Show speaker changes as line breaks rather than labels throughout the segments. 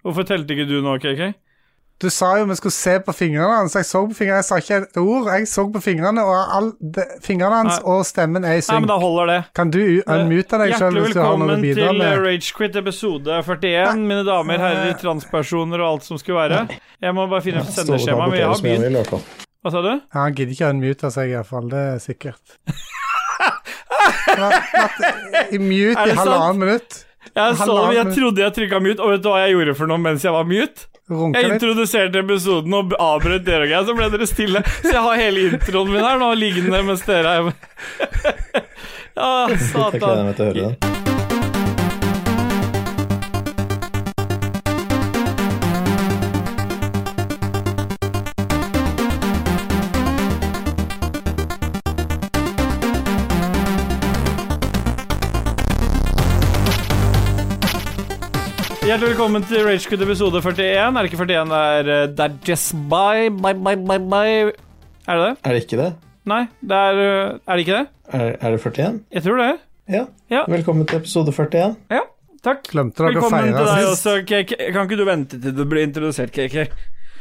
Hvorfor telte ikke du nå, KK?
Du sa jo vi skulle se på fingrene hans. Jeg så på fingrene, jeg sa ikke et ord. Jeg så på fingrene, og all, de, fingrene hans
Nei.
og stemmen er i
Nei, men
synk.
da holder det.
Kan du unmute deg sjøl
Hjertelig
hvis du har noe å
velkommen
bidra
til
med?
Ragequit episode 41, mine damer, herrer, transpersoner og alt som skulle være. Jeg må bare finne sendeskjemaet, men jeg har begynt. Hva sa du?
Ja, han gidder ikke å unmute seg, iallfall. Det er sikkert. Vært- vært i mute
Er det
i halvannet minutt.
Jeg så det, men jeg
Halvannen-
trodde jeg trykka mute, og vet du hva jeg gjorde for noe mens jeg var mute?
Runka
Jeg
litt.
introduserte episoden og avbrøt dere, og så ble dere stille. Så jeg har hele introen min her nå liggende mens dere er Ja,
Jeg gleder
satan.
meg til å høre den.
Hjertelig velkommen til Ragequid episode 41. Er det ikke 41 det er eh, Det er just bye, bye, bye, bye, bye. Er det det?
Er det ikke det?
Nei, det er eh, Er det ikke det?
Er, er det 41?
Jeg tror det.
Ja.
Ja.
Velkommen til episode 41.
Ja. Takk.
Glemte dere å
Velkommen
feire
til deg
sist?
også, KK. Kan ikke du vente til du blir introdusert, KK?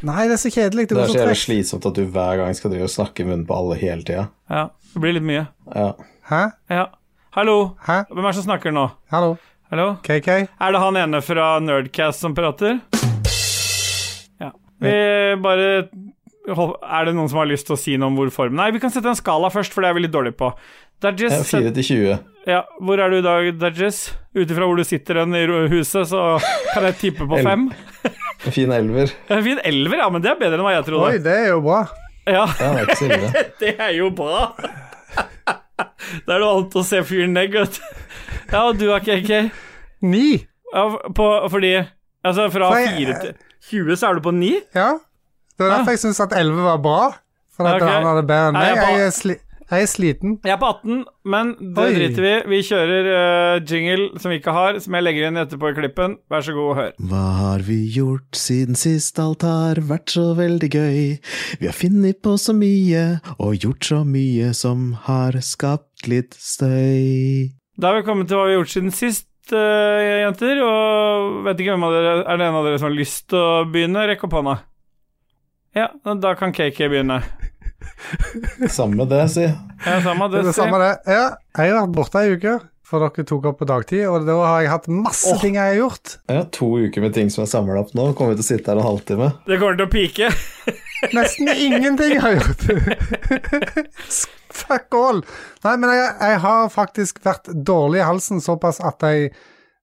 Nei, det er så kjedelig. Det
Det er
går
så
så
jævlig
tregt.
slitsomt at du hver gang skal drive og snakke i munnen på alle hele tida.
Ja. Det blir litt mye.
Ja.
Hæ?
Ja. Hallo.
Hæ?
Hvem er det som snakker nå?
Hallo?
Hallo?
KK?
Er det han ene fra Nerdcast som prater? Ja. Vi bare Er det noen som har lyst til å si noe om hvor form Nei, vi kan sette en skala først, for det er vi litt dårlige på.
Ja,
Dajis,
4 til 20.
ja, hvor er du i dag, Dajis? Ut ifra hvor du sitter hen i ro- huset, så kan jeg tippe på
Elv.
fem.
En fin elver.
En fin elver, ja, men det er bedre enn hva jeg
Oi,
trodde.
det er jo bra.
Ja,
Ja, det er ikke så ille.
det er jo bra. Da er det vant til å se fyren negg, vet du. Ja, og du er ikke ok.
Ni.
Ja, på, fordi Altså, fra
For jeg-
fire til 20, så er du på ni?
Ja. Det var derfor jeg syntes at 11 var bra. For
Ah.
at
Ok.
han hadde bedre enn
Nei,
meg.
jeg bare-
Jeg er, sli jeg er sliten.
Jeg er på 18, men det
Oi.
driter vi. Vi kjører eh, jingle som vi ikke har, som jeg legger inn etterpå i klippen. Vær så god, hør.
Hva har vi gjort siden sist alt har vært så veldig gøy? Vi har funnet på så mye og gjort så mye som har skapt litt støy.
Da er vi kommet til hva vi har gjort siden sist, eh, jenter. Og vet ikke hvem av dere Er det en av dere som har lyst til å begynne? Rekk opp hånda. Ja, da kan KK begynne.
Samme det, si.
Ja, samme
Det
det.
er det
si.
samme, det. Ja, jeg har vært borte ei uke, for dere tok opp på dagtid, og da har jeg hatt masse ting jeg har gjort.
Ja, to uker med ting som er samla opp nå. Kommer vi til å sitte her en halvtime?
Det kommer til å pike.
Nesten ingenting jeg har gjort. Fuck all. Nei, men jeg, jeg har faktisk vært dårlig i halsen såpass at jeg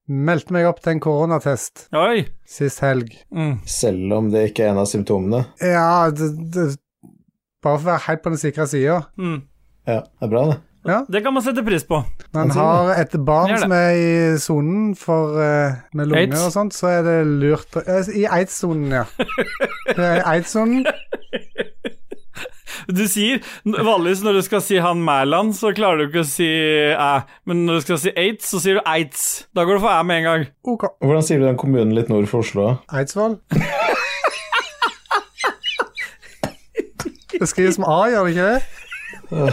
meldte meg opp til en koronatest
Oi.
sist helg.
Mm.
Selv om det ikke er en av symptomene.
Ja, det, det, bare for å være helt på den sikre sida.
Mm.
Ja, det er bra, det.
Det kan man sette pris på.
Man
Han sier
har et barn
Gjør det.
som er i sonen for eh, med lunger
Aids.
og sånt, så er det lurt å eh, I aids-sonen, ja. Det er Aids-sonen.
Du sier Vanligvis når du skal si han Mæland, så klarer du ikke å si æ. Men når du skal si aids, så sier du aids. Da går du for æ med en gang.
OK.
Hvordan sier du den kommunen litt nord for Oslo?
Eidsvoll. Det skrives med A, gjør det ikke det?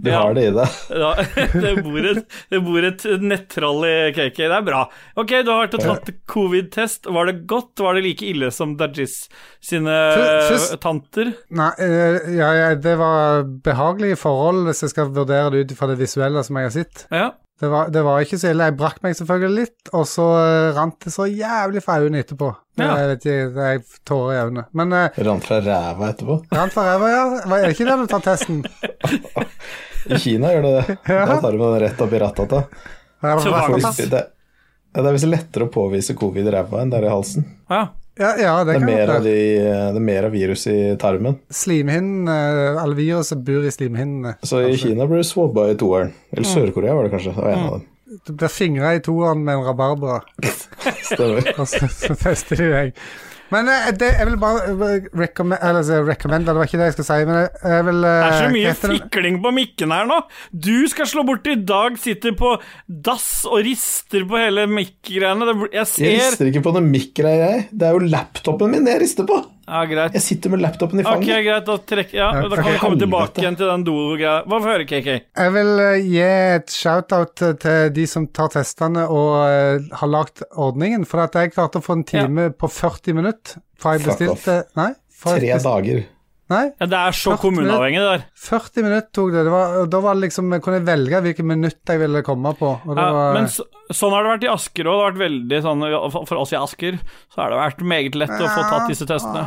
Du
Ja.
har det i deg.
Ja, det bor et, det bor et nettroll i KK. Det er bra. Ok, du har vært og tatt covid-test. Var det godt? Var det like ille som Dajis sine
Fy- fys-
eh, tanter?
Nei, eh, ja, ja, det var behagelige forhold, hvis jeg skal vurdere det ut fra det visuelle som jeg har sett.
Ja.
Det var, det var ikke så ille. Jeg brakk meg selvfølgelig litt, og så eh, rant det så jævlig fra øynene etterpå.
Ja.
Jeg vet ikke, det er tårer i øynene. Men eh,
Rant fra ræva etterpå.
Rant for ræva, ja. Var er det ikke der du tar testen?
I Kina gjør det det. Da tar du med den rett opp i rattata.
Ja, det
Så
var-
var
For
det
hvis- Det, ja, det er visst lettere å påvise covid i ræva enn der i halsen.
ja.
Ja, ja, det
Det er
kan
mer
være.
av, de, det er mer av virus i tarmen.
Slimhinnen, eh, alle viruset bor i slimhinnene.
Så i Kina blir du swabba i toeren. Eller Sør-Korea var det kanskje. Det var en av dem.
Du blir fingra i toeren med en rabarbra,
Stemmer.
og så, så tester de deg. Men eh, det, jeg vil bare eh, recommend, eller, så recommend, det var ikke det jeg skulle si, men jeg- jeg vil
Det
eh,
er så mye
hva heter den?
fikling på mikken her nå. Du skal slå bort i dag, sitter på dass og rister på hele mikkgreiene. Det blir- Jeg
Jeg
ser
rister ikke på noe mikk-greier, jeg. Det er jo laptopen min jeg rister på!
Ja, greit.
Jeg sitter med laptopen i
Ok,
fanget.
greit, da trekker Ja,
Ja,
da kan vi
for
komme
helvete.
tilbake igjen til den do-greia. Hva får høre, KK?
Jeg vil eh, gi et shout-out eh, til de som tar testene og eh, har lagd ordningen, for at jeg klarte å få en time på 40 minutter fra jeg
Fuck
bestilte Nei, fra jeg
Tre
bestilte,
dager.
nei
Ja, det er så
Klart det.
kommuneavhengig, det der.
40 minutter tok det. det var, og da var det liksom, jeg kunne jeg velge hvilke minutter jeg ville komme på. Og eh, det
Ja,
var,
men så, sånn har det vært i Asker òg. Det har vært veldig sånn For for oss i Asker så har det vært meget lett å få tatt disse testene.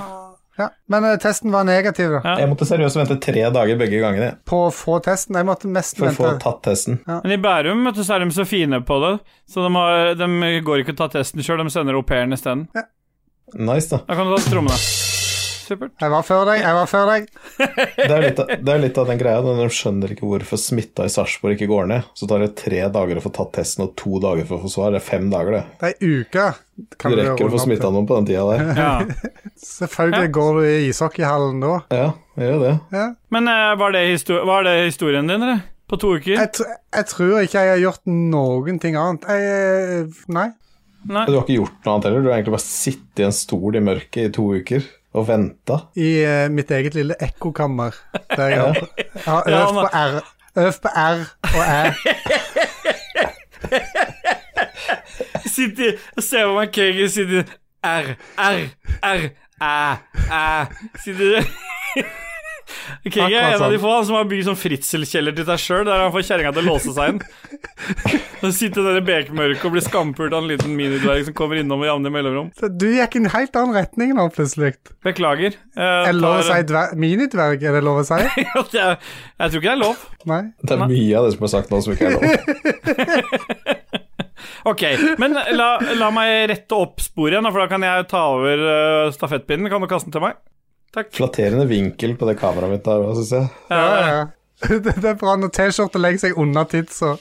ja. men eh, testen var negativ, da.
Ja.
Jeg måtte seriøst vente tre dager begge gangene jeg,
På å få testen. Jeg måtte mest
for å få
vente.
tatt testen.
Men i Bærum vet du, så er de så fine på det, så de, har, de går ikke og tar testen sjøl, de sender au pairen isteden.
Nice, da.
Da kan du ta trommene. Supert.
Jeg var før deg, jeg var før deg.
Det er jo litt, av- det er jo litt av den greia. når De skjønner ikke hvorfor smitta i Sarpsborg ikke går ned. Så tar det tre dager å få tatt testen og to dager for å få svar. Det er fem dager, det.
Det er ei uke.
Du rekker å få smitta noen på den tida der.
Ja.
Selvfølgelig går du i ishockeyhallen da.
Ja, gjør jo det.
Ja.
Men eh, var, det histor var det historien din, eller? På to uker?
Jeg, tr jeg tror ikke jeg har gjort noen ting annet. Jeg, eh, nei.
Nei.
Du har ikke gjort noe annet heller. Du har egentlig bare sittet i en stol i mørket i to uker og venta.
I eh, mitt eget lille ekkokammer. Der jeg har, jeg har
Ja,
øvd
men-
på R. Øvd på R og Æ.
Sitter Jeg ser på meg KG sitter R, R, R, æ, æ Sitter KG er en av de få han som har bygd sånn fritselkjeller til seg sjøl, der han får kjerringa til å låse seg inn. Så sitter han der i bekmørket og blir skampult av en liten minidverg som kommer innom i jevne mellomrom.
Så Du gikk i en helt annen retning nå, plutselig.
Beklager.
Er
Jeg,
det lov å si dver minidverg? Er det lov å si?
jeg, jeg tror ikke det er lov.
Nei?
Det er mye av det som er sagt nå som ikke er lov.
Ok, men la, la meg rette opp sporet igjen, da, for da kan jeg ta over eh, stafettpinnen. Kan du kaste den til meg? Takk.
Flatterende vinkel på det kameraet mitt der òg, syns jeg.
Ja, ja. Det, det er bra når T-skjorte legger seg under tidsa. Da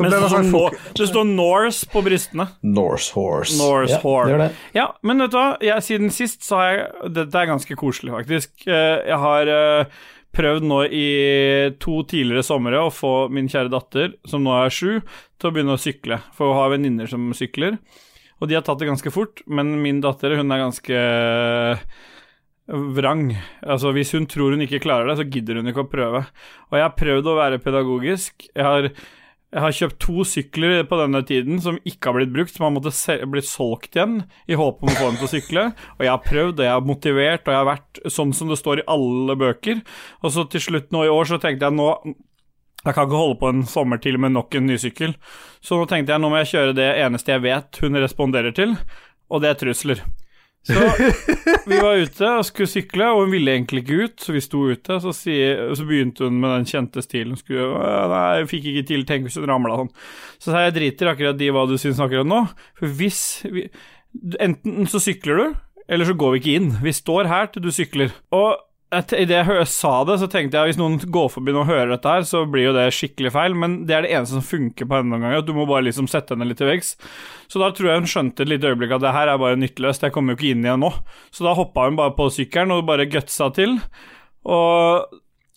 Men det,
blir det
står
sånn fok-
Nor- det står Norse på brystene.
Norse horse.
Norse
ja,
horse.
det gjør det.
Ja, men vet du hva, jeg, siden sist så har jeg Dette er ganske koselig, faktisk. Eh, Jeg har eh, prøvd nå i to tidligere somre å få min kjære datter, som nå er sju, til å begynne å sykle. For hun har venninner som sykler, og de har tatt det ganske fort. Men min datter, hun er ganske vrang. Altså, hvis hun tror hun ikke klarer det, så gidder hun ikke å prøve. Og jeg har prøvd å være pedagogisk. Jeg har, jeg har kjøpt to sykler på denne tiden som ikke har blitt brukt, som har måttet se- blitt solgt igjen, i håp om å få dem til å sykle. Og jeg har prøvd, og jeg har motivert, og jeg har vært sånn som det står i alle bøker. Og så til slutt nå i år så tenkte jeg nå jeg kan ikke holde på en sommer til med nok en ny sykkel. Så nå tenkte jeg nå må jeg kjøre det eneste jeg vet hun responderer til, og det er trusler. Så vi var ute og skulle sykle, og hun ville egentlig ikke ut, så vi sto ute. Så, sier- så begynte hun med den kjente stilen. Skulle, «Åh, nei, jeg fikk ikke til, tenk hvis hun ramla sånn. Så sa jeg driter akkurat i hva du syns akkurat nå, for hvis vi Enten så sykler du, eller så går vi ikke inn. Vi står her til du sykler. Og et- i det jeg hø- sa det, så tenkte jeg hvis noen går forbi og hører dette her, så blir jo det skikkelig feil, men det er det eneste som funker på henne noen ganger, at du må bare liksom sette henne litt til veggs. Så da tror jeg hun skjønte et lite øyeblikk at det her er bare nytteløst, jeg kommer jo ikke inn igjen nå. Så da hoppa hun bare på sykkelen og bare gutsa til, og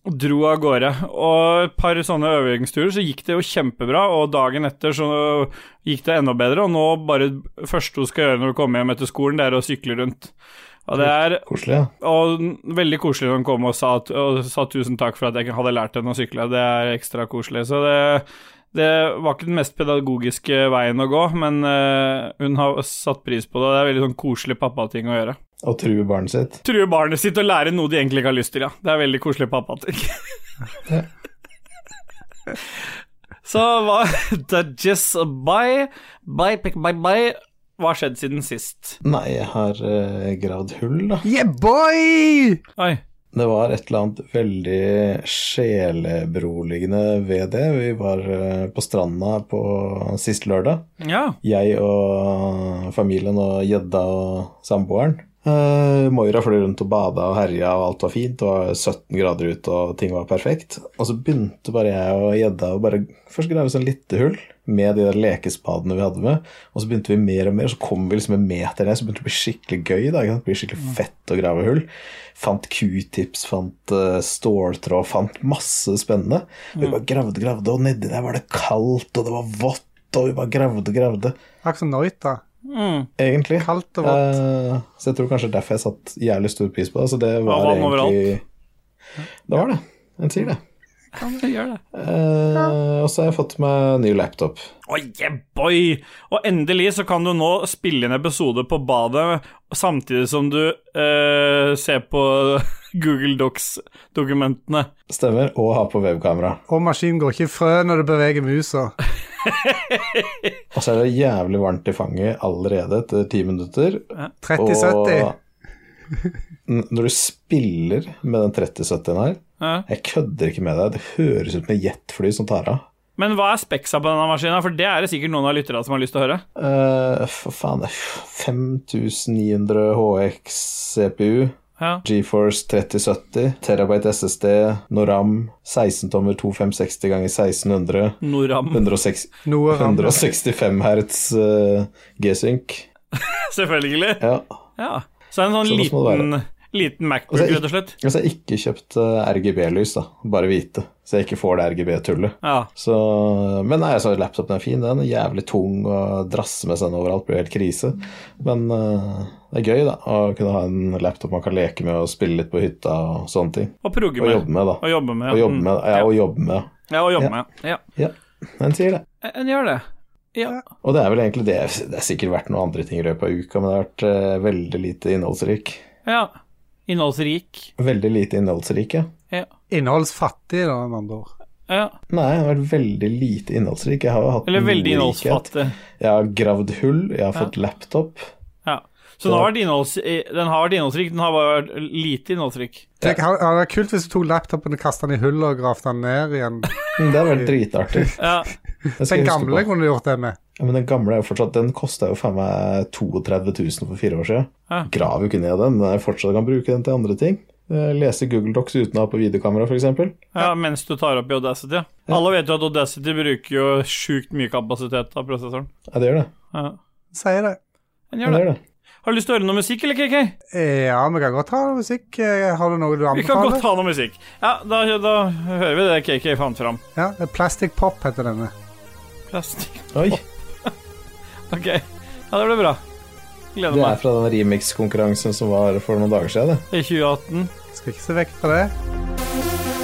dro av gårde. Og et par sånne øvingsturer så gikk det jo kjempebra, og dagen etter så gikk det enda bedre, og nå bare første hun skal gjøre når hun kommer hjem etter skolen, det er å sykle rundt. Og det er
Koselig, ja.
og veldig koselig når hun kom og sa, at, og sa tusen takk for at jeg hadde lært henne å sykle. Det er ekstra koselig. Så det, det var ikke den mest pedagogiske veien å gå, men eh, hun har satt pris på det. Det er veldig sånn koselig pappating å gjøre.
Å true barnet sitt.
True barnet sitt og lære noe de egentlig ikke har lyst til, ja. Det er veldig koselig pappating. Så hva Dudges bye, bye, pick, bye, bye. Hva har skjedd siden sist?
Nei, jeg har eh, gravd hull, da.
Yeah, boy!
Oi.
Det var et eller annet veldig sjeleberoligende ved det. Vi var eh, på stranda på sist lørdag.
Ja.
Jeg og familien og gjedda og samboeren. Eh, Moira fløy rundt og bada og herja, og alt var fint. Det var 17 grader ute, og ting var perfekt. Og så begynte bare jeg og gjedda å bare først grave sånn lite hull med de der lekespadene vi hadde med. Og så begynte vi mer og mer, så kom vi liksom en meter ned, så begynte det å bli skikkelig gøy. da, ikke sant? Det blir skikkelig fett å grave hull. Fant q-tips, fant eh, ståltråd, fant masse spennende. Vi bare gravde, gravde, og nedi der var det kaldt, og det var vått, og vi bare gravde, gravde.
Akkurat som Noita.
Mm.
egentlig.
Kaldt og vått.
Eh, så jeg tror kanskje derfor jeg satt jævlig stor pris på det. Så det var
vann
egentlig Det var det. En sier det.
Kan vi gjøre det?
Eh, og så har jeg fått meg ny laptop.
Oh, yeah, boy! Og endelig så kan du nå spille inn episode på badet samtidig som du eh, ser på Google Docs-dokumentene.
Stemmer. Og har på webkamera.
Og maskinen går ikke i frø når du beveger musa.
Og så er det jævlig varmt i fanget allerede etter ti minutter.
30-70.
n- når du spiller med den 3070-en her
Ja.
Jeg kødder ikke med deg. Det høres ut som et jetfly som tar av.
Men hva er speksa på denne maskinen? For det er det sikkert noen av lytterne som har lyst til å høre.
Eh, for faen, det er 5900 HX CPU.
Ja.
GeForce 3070, Terabyte SSD, Noram, 16 tommer 2560 ganger 1600,
Noram.
106,
Noe ram.
165 hertz eh, G-sync.
Selvfølgelig.
Ja.
Ja. Så det er en sånn
Såpass må det
liten, liten Macbook,
Altså, jeg-
rett og slett.
Altså, jeg har ikke kjøpt eh, RGB-lys, da, bare hvite, så jeg ikke får det RGB-tullet.
Ja.
Så, men nei, altså, laptopen er fin, den er jævlig tung og drasse med seg den overalt, blir helt krise. Men eh, det er gøy, da, å kunne ha en laptop man kan leke med og spille litt på hytta og sånne ting.
Og progge
Og
med.
jobbe med, da.
Og jobbe med.
Og jobbe med, ja,
ja. Mm.
og jobbe med.
Ja, og jobbe
Ja.
med. Ja.
Ja, den sier det.
En gjør det. Ja.
Og det er vel egentlig det. Det har sikkert vært noen andre ting i løpet av uka, men det har vært eh, veldig lite innholdsrik.
ja. Innholdsrik.
Veldig lite innholdsrik, ja.
Ja.
Innholdsfattig, da, med andre ord.
ja.
Nei, det har vært veldig lite innholdsrik. Jeg har jo hatt
Eller veldig
noe likhet.
innholdsfattig.
Jeg har gravd hull, jeg har fått laptop.
Ja. Så den har, vært innholds, den har vært innholdsrik, den har bare vært lite innholdsrik.
Tenk, hadde hadde vært kult hvis du tok laptopen og kastet den i hullet og gravde den ned igjen.
Mm, Det har vært dritartig.
Ja,
Det
Den
skal jeg huske
gamle
på.
kunne du gjort det med.
Ja, men den gamle er jo fortsatt Den kosta jo faen meg 32 000 for fire år siden.
Ja.
Grav jo ikke ned den, men jeg fortsatt kan bruke den til andre ting. Eh, Lese Google Docs uten å ha på videokamera, f.eks.
ja, mens du tar opp i Audacity. Alle vet jo at Audacity bruker jo sjukt mye kapasitet av prosessoren.
Ja, det gjør det.
Ja.
Sier det.
Den
Ja,
gjør
det,
det.
gjør det.
Har du lyst til å høre noe musikk, eller, KK?
Eh, Ja, vi kan godt ha noe musikk. Eh, Har du noe du
Vi kan godt
anbefaler?
ha noe musikk. Ja, da, da hører vi det KK fant fram.
Ja, det er Plastic Pop heter denne.
Plastikk.
Oi,
Ok. Ja, det ble bra. Gleder
det er
meg.
fra den remix-konkurransen som var for noen dager siden,
I
det.
2018.
Skal ikke se vekk fra det.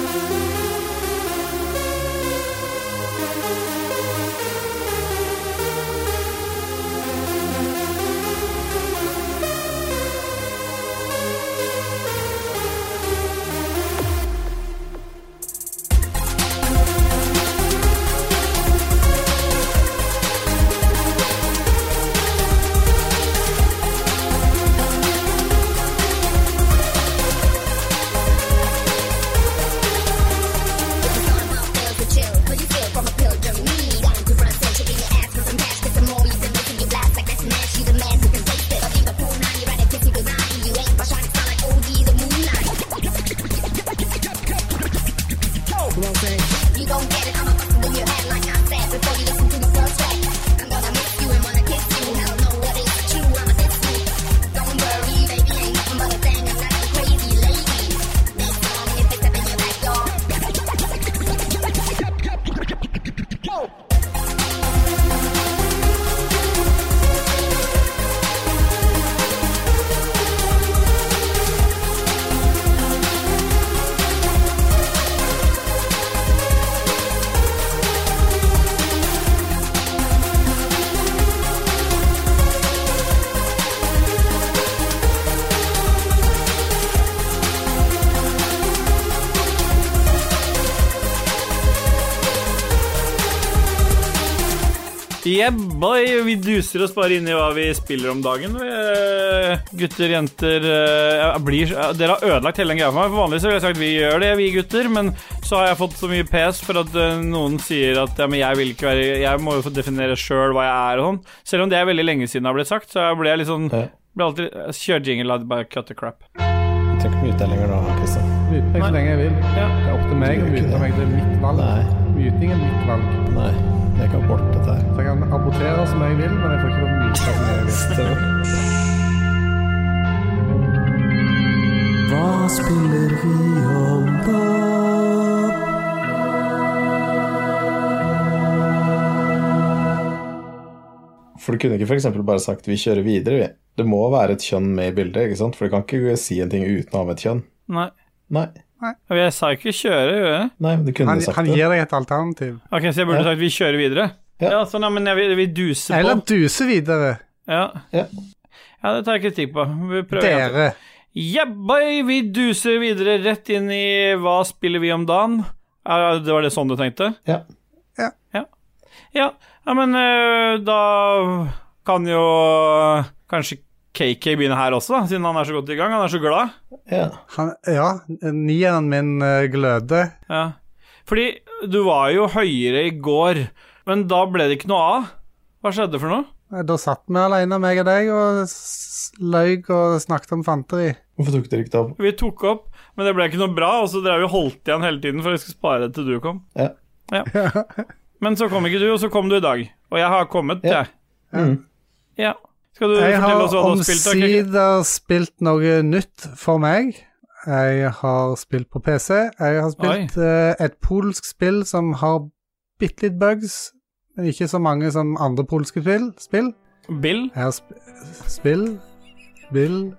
Yeah, boy! Vi duser oss bare inn i hva vi spiller om dagen. vi, eh, Gutter, jenter eh, jeg blir, eh, Dere har ødelagt hele den greia for meg. For vanligvis så ville jeg sagt vi gjør det, vi gutter. Men så har jeg fått så mye pes for at eh, noen sier at ja, men jeg vil ikke være Jeg må jo få definere sjøl hva jeg er og sånn. Selv om det er veldig lenge siden det har blitt sagt, så jeg ble litt sånn
Ja.
ble alltid, jeg Kjør jingle, la det bare cut the crap.
Jeg trenger ikke mute deg lenger nå, Kristian.
Myte meg så lenge jeg vil.
Ja.
Det er opp til meg å
Du gjør ikke
myte meg. Det er mitt valg.
Nei.
Myting er mitt valg.
Nei, jeg kan borte dette her.
Så jeg kan abortere som jeg vil, men jeg får ikke lov til å myte som jeg vil.
Stemmer.
Hva spiller vi om da?
For du kunne ikke f.eks. bare sagt 'vi kjører videre', vi. Det må være et kjønn med i bildet, ikke sant? For du kan ikke si en ting uten å ha med et kjønn.
Nei.
Nei,
Og Jeg sa ikke 'kjøre', gjorde jeg?
nei, men du kunne
Han,
sagt
han
det.
gir deg et alternativ.
Ok, så jeg burde sagt 'vi kjører videre'?
Ja.
Ja, sånn, ja men jeg vil, vi duser på.
Eller duse videre.
Ja.
Ja.
ja, det tar jeg kritikk på. Vi prøver igjen.
Dere.
Yeah, boy, vi duser videre rett inn i Hva spiller vi om dagen? Ja, Det var det sånn du tenkte?
Ja.
Ja.
Ja, ja. ja men øh, da kan jo eh, kanskje KK begynne her også, da, siden han er så godt i gang. Han er så glad.
Ja.
Han, ja, nieren min eh, gløder.
Ja. Fordi du var jo høyere i går, men da ble det ikke noe av. Hva skjedde for noe?
Eh, Da satt vi alene, meg og deg, og s- løy og snakket om fanteri.
Hvorfor tok dere ikke det opp?
Vi tok opp, men det ble ikke noe bra, og så drev vi og holdt igjen hele tiden for jeg skulle spare det til du kom.
Ja.
Ja. Men så kom ikke du, og så kom du i dag. Og jeg har kommet,
Ja.
jeg.
Mm.
Ja. Skal du
Jeg
fortelle
har
oss hva du har spilt? da, Kiki?
omsider spilt noe nytt for meg. Jeg har spilt på PC. Jeg har spilt eh, et polsk spill som har bitte litt bugs, men ikke så mange som andre polske spill. spill.
Bill?
Jeg har sp spill Bill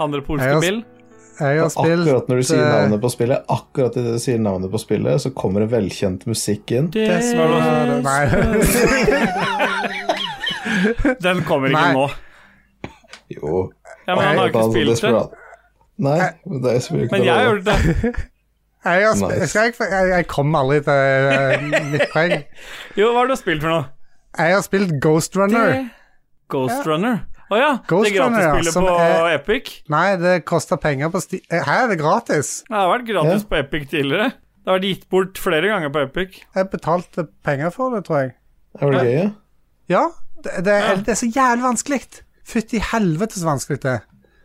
Andre polske
Jeg har
Bill?
Jeg har
Og
spilt
akkurat når du sier
eh,
navnet på spillet, akkurat idet du sier navnet på spillet, så kommer det velkjent musikk inn.
Desperado-
Den kommer ikke
Nei.
nå.
Jo.
Ja, men han har ikke
Altså,
spilt det.
Desperado. Nei, men det spiller ikke
Men
noe
jeg har
rolle.
gjort det.
Jeg, har sp
Nice.
skal jeg, ikke- jeg, jeg kom aldri til eh, mitt poeng.
Jo, hva har du spilt for noe?
Jeg har spilt Ghost Runner.
Ghost Runner. Å ja.
Ghost
Det
Runner, ja,
gratisspillet
som
på
er-
Epic.
Nei, det koster penger på sti... Eh, Her er det gratis.
Det har vært gratis på Epic tidligere. Det har vært gitt bort flere ganger på Epic.
Jeg betalte penger for det, tror jeg.
Er det gøy? Ja?
Ja, det, det,
Ja.
det er så jævlig vanskelig. Fytti helvete så vanskelig det er.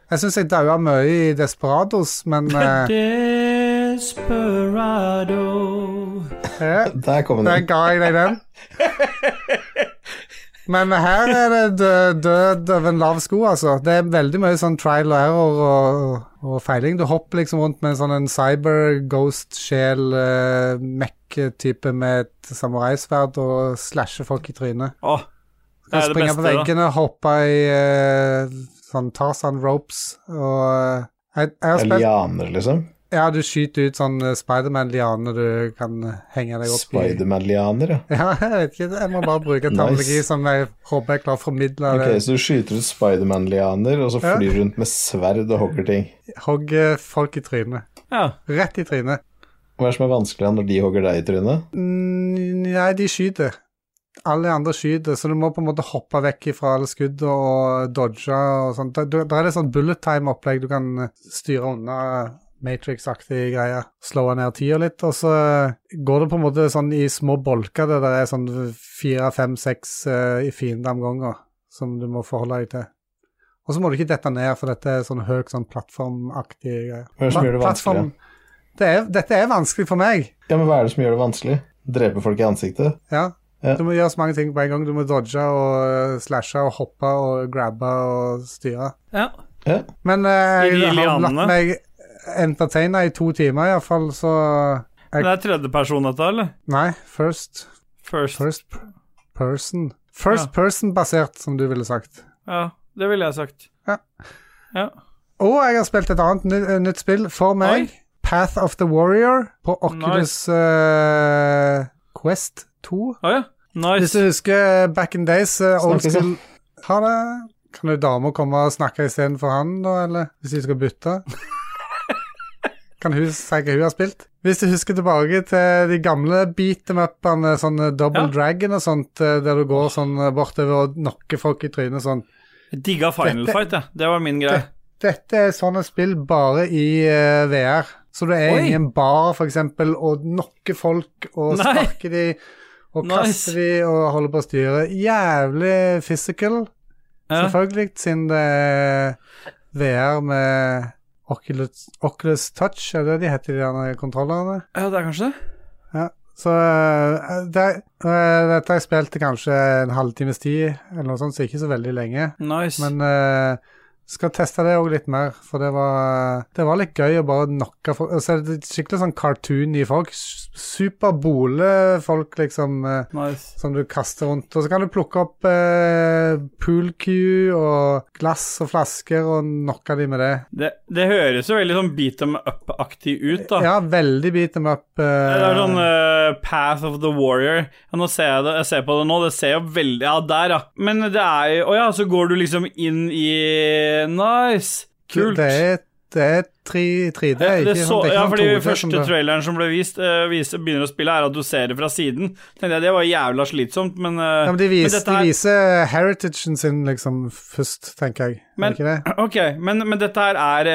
Jeg syns jeg daua mye i Desperados, men eh,
Desperado
eh,
Der kom
Der
den.
ga jeg deg den. Men her er det død, død over en lav sko, altså. Det er veldig mye sånn trial og error og, og feiling. Du hopper liksom rundt med en sånn en cyber ghost-sjel-mekk-type med et samuraisverd og slasher folk i trynet.
Åh, det
Kan
er det beste,
springe på
da.
veggene, hoppe i eh, sånn Tarzan ropes og eh, jeg, jeg har spilt
Lianer, liksom.
Ja, du skyter ut sånn eh, Spiderman-liane du kan henge deg opp i.
Spiderman-lianer, ja.
Ja, jeg vet ikke. Jeg må bare bruke terminologi
Nice.
som jeg håper jeg klarer å formidle.
Ok,
det.
Så du skyter ut Spiderman-lianer, og så
Ja.
flyr rundt med sverd og hogger ting.
Hogge folk i trynet.
Ja.
Rett i trynet.
Hva er det som er vanskelig når de hogger deg i trynet?
Mm, Nei, de skyter. Alle de andre skyter, så du må på en måte hoppe vekk fra alle skudd og dodge og sånt. Da- da- Der er det sånn bullet time-opplegg du kan eh, styre unna eh, Matrix-aktige greier. Slå ned tida litt, og så eh, går det på en måte sånn i små bolker der det er sånn fire, fem, seks eh, i fiender om gangen som du må forholde deg til. Og så må du ikke dette ned, for dette er sånn høy sånn plattformaktig greier.
Hva er det som gjør det
Plattform-
vanskelig?
Det er, dette er vanskelig for meg.
Ja, men hva er det som gjør det vanskelig? Drepe folk i ansiktet?
Ja.
Ja.
Du må gjøre så mange ting på en gang. Du må dodge og øh, slashe og hoppe og grabbe og styre.
ja.
Ja.
Men øh,
I de
jeg har latt
lianene.
meg entertaine i to timer iallfall, så
Men det er tredjeperson, dette, eller?
Nei, first,
First.
first p- person. First
Ja.
person-basert, som du ville sagt.
Ja, det ville jeg sagt.
Ja.
Ja.
Og jeg har spilt et annet ny, øh, nytt spill for
Oi.
meg. Path of the Warrior på Oculus øh, Quest 2.
Å ja.
Hvis du
Nice.
husker eh, back in days, eh, old
Snakkes, ja.
school Ha det. Kan jo dama komme og snakke istedenfor han, da, eller? Hvis de skal bytte? kan hun si hva hun har spilt? Hvis du husker tilbake til de gamle beat-em-up-ene, sånn eh, Double
Ja.
Dragon og sånt, eh, der du går sånn eh, bortover og knocker folk i trynet sånn.
Jeg Digga Final
Dette-
Fight, jeg. Det var min greie.
Dette er sånne spill bare i eh, VR. Så du er
Oi.
i en bar, for eksempel, og knocker folk og
Nei.
sparker de og
Nice.
kaster de og holder på å styre. Jævlig physical,
Ja.
selvfølgelig, siden det er VR med Oculus, Oculus Touch, er det de heter, de der kontrollerne?
ja, det er kanskje det?
Ja. Så eh, det, eh, dette har jeg spilt i kanskje en halvtimes tid, eller noe sånt, så ikke så veldig lenge.
Nice.
Men eh, Skal teste det òg litt mer, for det var, det var litt gøy å bare knocke folk. Og så er det skikkelig sånn cartoony folk. s- Superbole folk, liksom, eh,
Nice.
som du kaster rundt. Og så kan du plukke opp eh, pool cue og glass og flasker og knocke de med det.
Det, det høres jo veldig sånn beat them up-aktig ut, da.
Ja, veldig beat them up. eh,
Det er sånn eh, Path of the Warrior. Ja, nå ser jeg, det, jeg ser på det nå, det ser jo veldig Ja, der, ja. Men det er jo Å ja, så går du liksom inn i Nice. Kult.
Det er, det er 3, 3D,
Ja,
ikke
det så,
sånn, det er
ja,
ikke
fordi
noen 2D som
første
det-
traileren som ble vist, eh, viser, begynner å spille, er at du ser det fra siden. Tenkte jeg, Det var jævla slitsomt, men, eh,
Ja, men de, vis,
dette
de
her-
viser heritagen sin liksom først, tenker jeg. Er
Men-
det ikke det?
Ok, men, men dette her er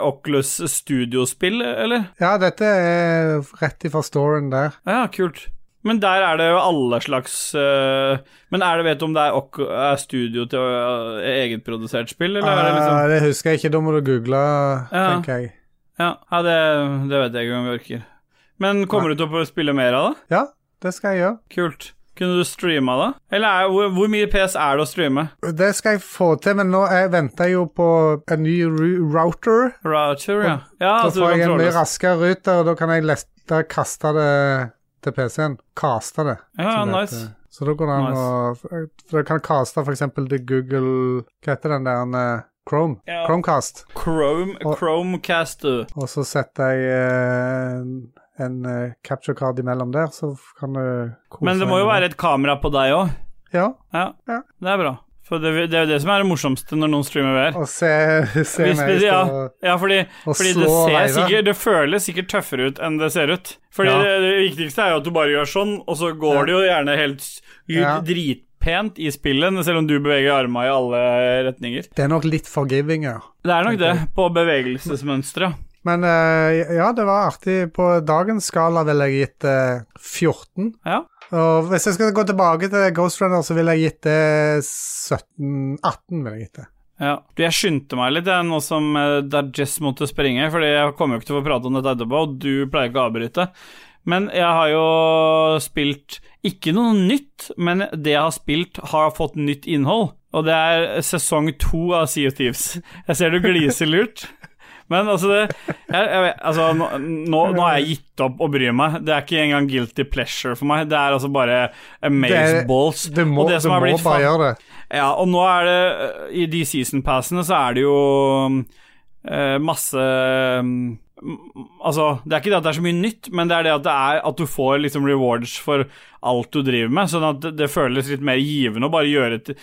uh, Oculus studiospill, eller?
Ja, dette er rett ifra storen der.
Ja, kult. Men der er det jo alle slags eh, Men er det, vet du om det er, Oc- er studio til uh, egenprodusert spill, eller er det
Ah,
liksom
det husker jeg ikke, da må du google,
Ja.
tenker jeg.
Ja, ja det, det vet jeg ikke om jeg orker. Men kommer du til å spille mer av det?
Ja, det skal jeg gjøre.
Kult. Kunne du streama det? Eller er, hvor, hvor mye PS er det å streame?
Det skal jeg få til, men nå jeg venter jeg jo på en ny ru- router.
Router, ja. ja
Da
altså, du
får
kan
jeg en mye
trådløst.
raskere ruter, og da kan jeg lettere kaste det til PC-en. Kaste det.
Ja,
som det
nice.
heter. Så da går det an å For jeg kan kaste f.eks. til Google Hva heter den der eh, Chrome?
Ja.
Chromecast.
Chrome,
Og-
Chromecaster.
Og så setter jeg eh, en- en eh, capture card imellom der, så f- kan du kose
Men det må jo
deg med
være et kamera på deg òg.
Ja,
Ja,
Ja.
det er bra. For det, det er jo det som er det morsomste når noen streamer VR.
og se, se
Hvis-
meg
ja,
stå-
ja, fordi,
og
fordi det,
slå og
ser
veive.
sikkert, det føles sikkert tøffere ut enn det ser ut. Fordi
Ja.
det, det viktigste er jo at du bare gjør sånn, og så går
Ja.
det jo gjerne helt s- ut
Ja.
dritpent i spillet, selv om du beveger arma i alle retninger.
Det er nok litt forgiving, ja.
Det er nok det, på bevegelsesmønsteret.
Men eh, ja, det var artig. På dagens skala ville jeg gitt eh, 14.
Ja.
Og hvis jeg skal gå tilbake til Ghost Runner, så ville jeg gitt det 17 18. Vil jeg gitt det.
Ja. Du, jeg skyndte meg litt, jeg, nå som eh, Dajess måtte springe, fordi jeg kommer jo ikke til å få prate om dette etterpå, og du pleier ikke å avbryte. Men jeg har jo spilt ikke noe nytt, men det jeg har spilt, har fått nytt innhold. Og det er sesong to av Sea of Thieves. Jeg ser du gliser lurt. Men altså, det, jeg, jeg, vet- altså nå, nå, nå har jeg gitt opp å bry meg. Det er ikke engang guilty pleasure for meg. Det er altså bare amazeballs.
Du må,
Og det
du
som har
må
blitt
bare
fan-
gjøre det.
ja, og nå er det I de season passene så er det jo eh, masse mm, Altså, det er ikke det at det er så mye nytt, men det er det at, det er at du får liksom rewards for alt du driver med, sånn at det, det føles litt mer givende å bare gjøre t-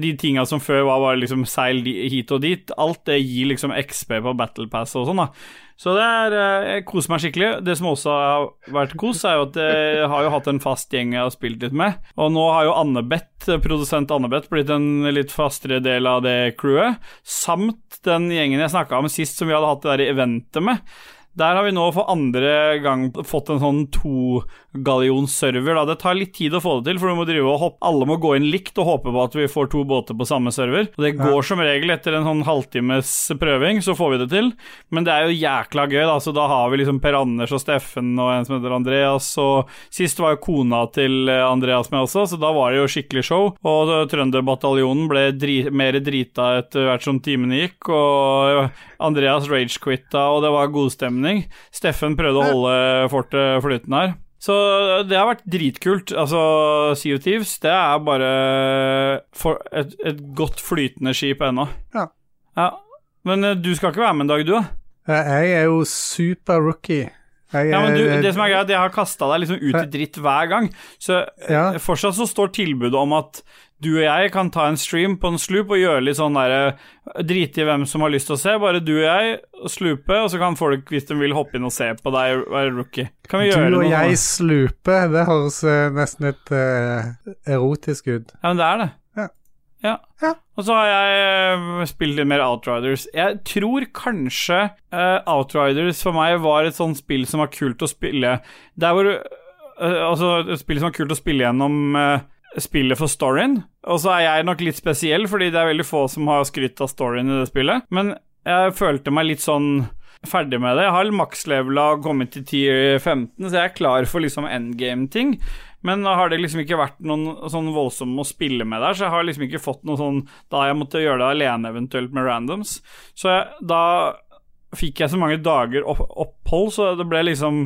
de tinga som før var bare liksom seil di- hit og dit. Alt det gir liksom XP på Battle Pass og sånn, da. Så det er eh, Jeg koser meg skikkelig. Det som også har vært kos, er jo at jeg har jo hatt en fast gjeng jeg har spilt litt med. Og nå har jo Annebeth, produsent Annebeth, blitt en litt fastere del av det crewet. Samt den gjengen jeg snakka om sist, som vi hadde hatt det der eventet med. Der har vi nå for andre gang fått en sånn togallionsserver. da. Det tar litt tid å få det til, for du må drive og hoppe. alle må gå inn likt og håpe på at vi får to båter på samme server. Og det går som regel etter en sånn halvtimes prøving, så får vi det til. Men det er jo jækla gøy, da. Så da har vi liksom Per Anders og Steffen og en som heter Andreas. Og sist var jo kona til eh, Andreas med også, så da var det jo skikkelig show. Og eh, Trønderbataljonen ble dri mer drita etter hvert som timene gikk, og Andreas ragequitta, og det var godstemning. Steffen prøvde å holde fortet flytende her. Så det har vært dritkult. Altså, Sea of Thieves, det er bare for et, et godt flytende skip ennå.
Ja.
ja. Men eh, du skal ikke være med en dag, du? da?
Eh, Jeg er jo super rookie. Jeg,
Ja, men du,
er-
det som er greit, jeg har kasta deg liksom ut i dritt hver gang. Så
ja.
Eh, fortsatt så står tilbudet om at du og jeg kan ta en stream på en sloop og gjøre litt sånn derre Drite i hvem som har lyst til å se, bare du og jeg og slupe, og så kan folk, hvis de vil, hoppe inn og se på deg være rookie. Kan vi gjøre
Du og
noe sånn?
jeg
sånt?
sluper. Det høres eh, nesten litt eh, erotisk ut.
Ja, men det er det.
Ja.
Ja.
Ja.
Og så har jeg eh, spilt litt mer Outriders. Jeg tror kanskje eh, Outriders for meg var et sånt spill som var kult å spille Der hvor eh, Altså, et spill som var kult å spille gjennom eh, spillet for storyen. Og så er jeg nok litt spesiell, fordi det er veldig få som har skrytt av storyen i det spillet. Men jeg følte meg litt sånn ferdig med det. Jeg har makslevela og kommet til tier 15, så jeg er klar for liksom endgame-ting. Men har det liksom ikke vært noen sånn voldsomme å spille med der, så jeg har liksom ikke fått noe sånn Da har jeg måttet gjøre det alene, eventuelt med randoms. Så jeg, da fikk jeg så mange dager opp, opphold, så det ble liksom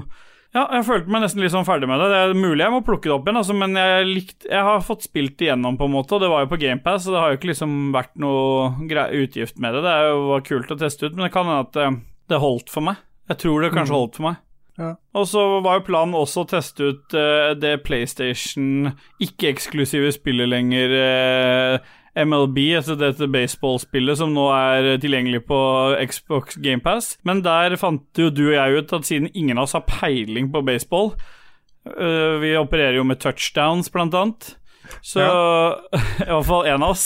ja, jeg følte meg nesten litt sånn ferdig med det. Det er mulig jeg må plukke det opp igjen, altså, men jeg, likte, jeg har fått spilt det igjennom, på en måte, og det var jo på GamePass, så det har jo ikke liksom vært noe grei- utgift med det. Det er jo, var kult å teste ut, men det kan hende at eh, det holdt for meg. Jeg tror det kanskje holdt for meg.
Ja.
Og så var jo planen også å teste ut eh, det PlayStation ikke-eksklusive spillet lenger, eh, MLB, altså dette baseballspillet som nå er tilgjengelig på Xbox GamePass. Men der fant jo du og jeg ut at siden ingen av oss har peiling på baseball eh, Vi opererer jo med touchdowns, blant annet. Så I hvert fall én av oss.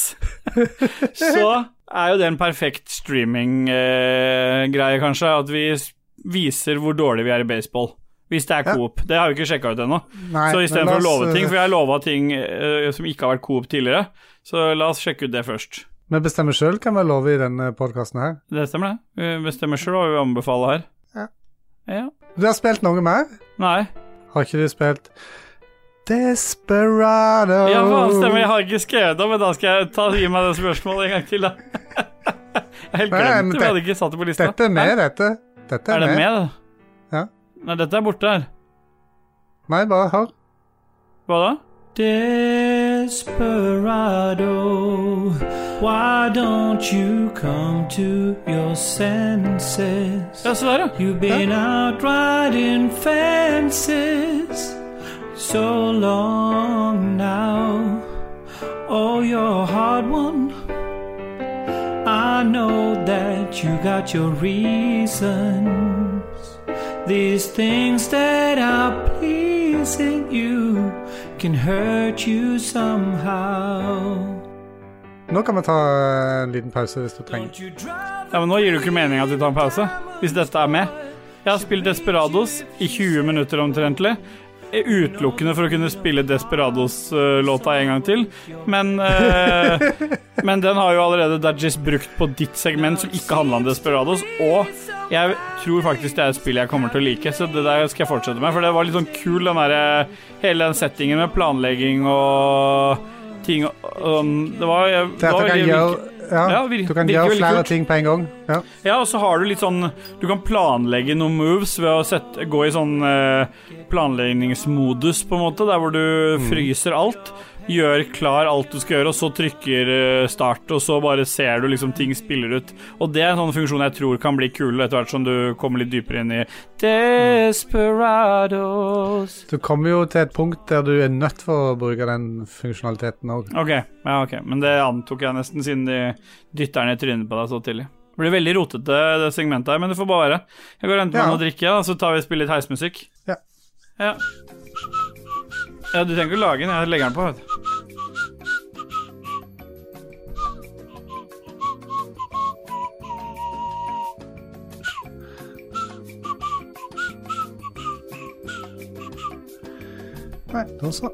Så er jo det en perfekt streaming-greie, kanskje. At vi s- viser hvor dårlig vi er i baseball. Hvis det er
Ja.
coop. Det har vi ikke sjekka ut ennå.
Nei,
Så
men
istedenfor å
la oss,
love ting,
eh,
for jeg lova ting eh, som ikke har vært coop tidligere, så la oss sjekke ut det først.
Vi bestemmer sjøl hva vi lover i denne podkasten her.
Det stemmer, det. Vi bestemmer sjøl hva vi anbefaler her.
Ja.
Ja.
Du har spilt noe mer?
Nei.
Har ikke du spilt Desperado?
Ja, faen, stemmer. Jeg har ikke skrevet det, men da skal jeg ta, gi meg det spørsmålet en gang til, da. Jeg helt
Nei, men
glemte det,
det-
vi hadde ikke satt det på lista.
Dette er med, dette. Dette
Hæ?
er,
Er det med, det?
Ja.
Nei, dette er borte her.
Nei, bare hør.
Hva da? Desperado, why don't you come to your senses? Ja, se der, ja. You've been out riding fences so long now. Oh, you're a hard one. I know that you got your reasons. These things that are pleasing you can hurt you somehow.
Nå kan vi ta eh, en liten pause hvis du trenger.
Ja, men Nå gir det jo ikke mening at vi tar en pause, hvis dette er med. Jeg har spilt Desperados i 20 minutter omtrentlig. eh, Utelukkende for å kunne spille Desperados-låta en gang til. Men, eh, men den har jo allerede Dajis brukt på ditt segment, som ikke handla om Desperados. Og jeg tror faktisk det er et spill jeg kommer til å like, så det der skal jeg fortsette med. For det var litt sånn kul, den derre Hele den settingen med planlegging og ting og um, Det var, jeg, det
Det at
var
du kan
veldig-
gjøre, ja,
Ja, vir-
du kan
virker
gjøre
veldig
flere
kult.
ting på en gang. Ja.
ja, og så har du litt sånn Du kan planlegge noen moves ved å sette, gå i sånn eh, planleggingsmodus, på en måte, der hvor du fryser alt. Gjør klar alt du skal gjøre, og så trykker eh, start, og så bare ser du liksom ting spiller ut. Og det er en sånn funksjon jeg tror kan bli kul etter hvert som du kommer litt dypere inn i Desperados.
Du kommer jo til et punkt der du er nødt for å bruke den funksjonaliteten òg.
Ok, ja, ok, men det antok jeg nesten, siden de dytter den i trynet på deg så tidlig. Det blir veldig rotete, det segmentet her, men det får bare være. Jeg går og henter meg
Ja.
noe å drikke, da, så tar vi og spiller litt heismusikk.
Ja.
Ja. ja, du trenger ikke å lage den, jeg legger den på, vet du.
Nei, da så.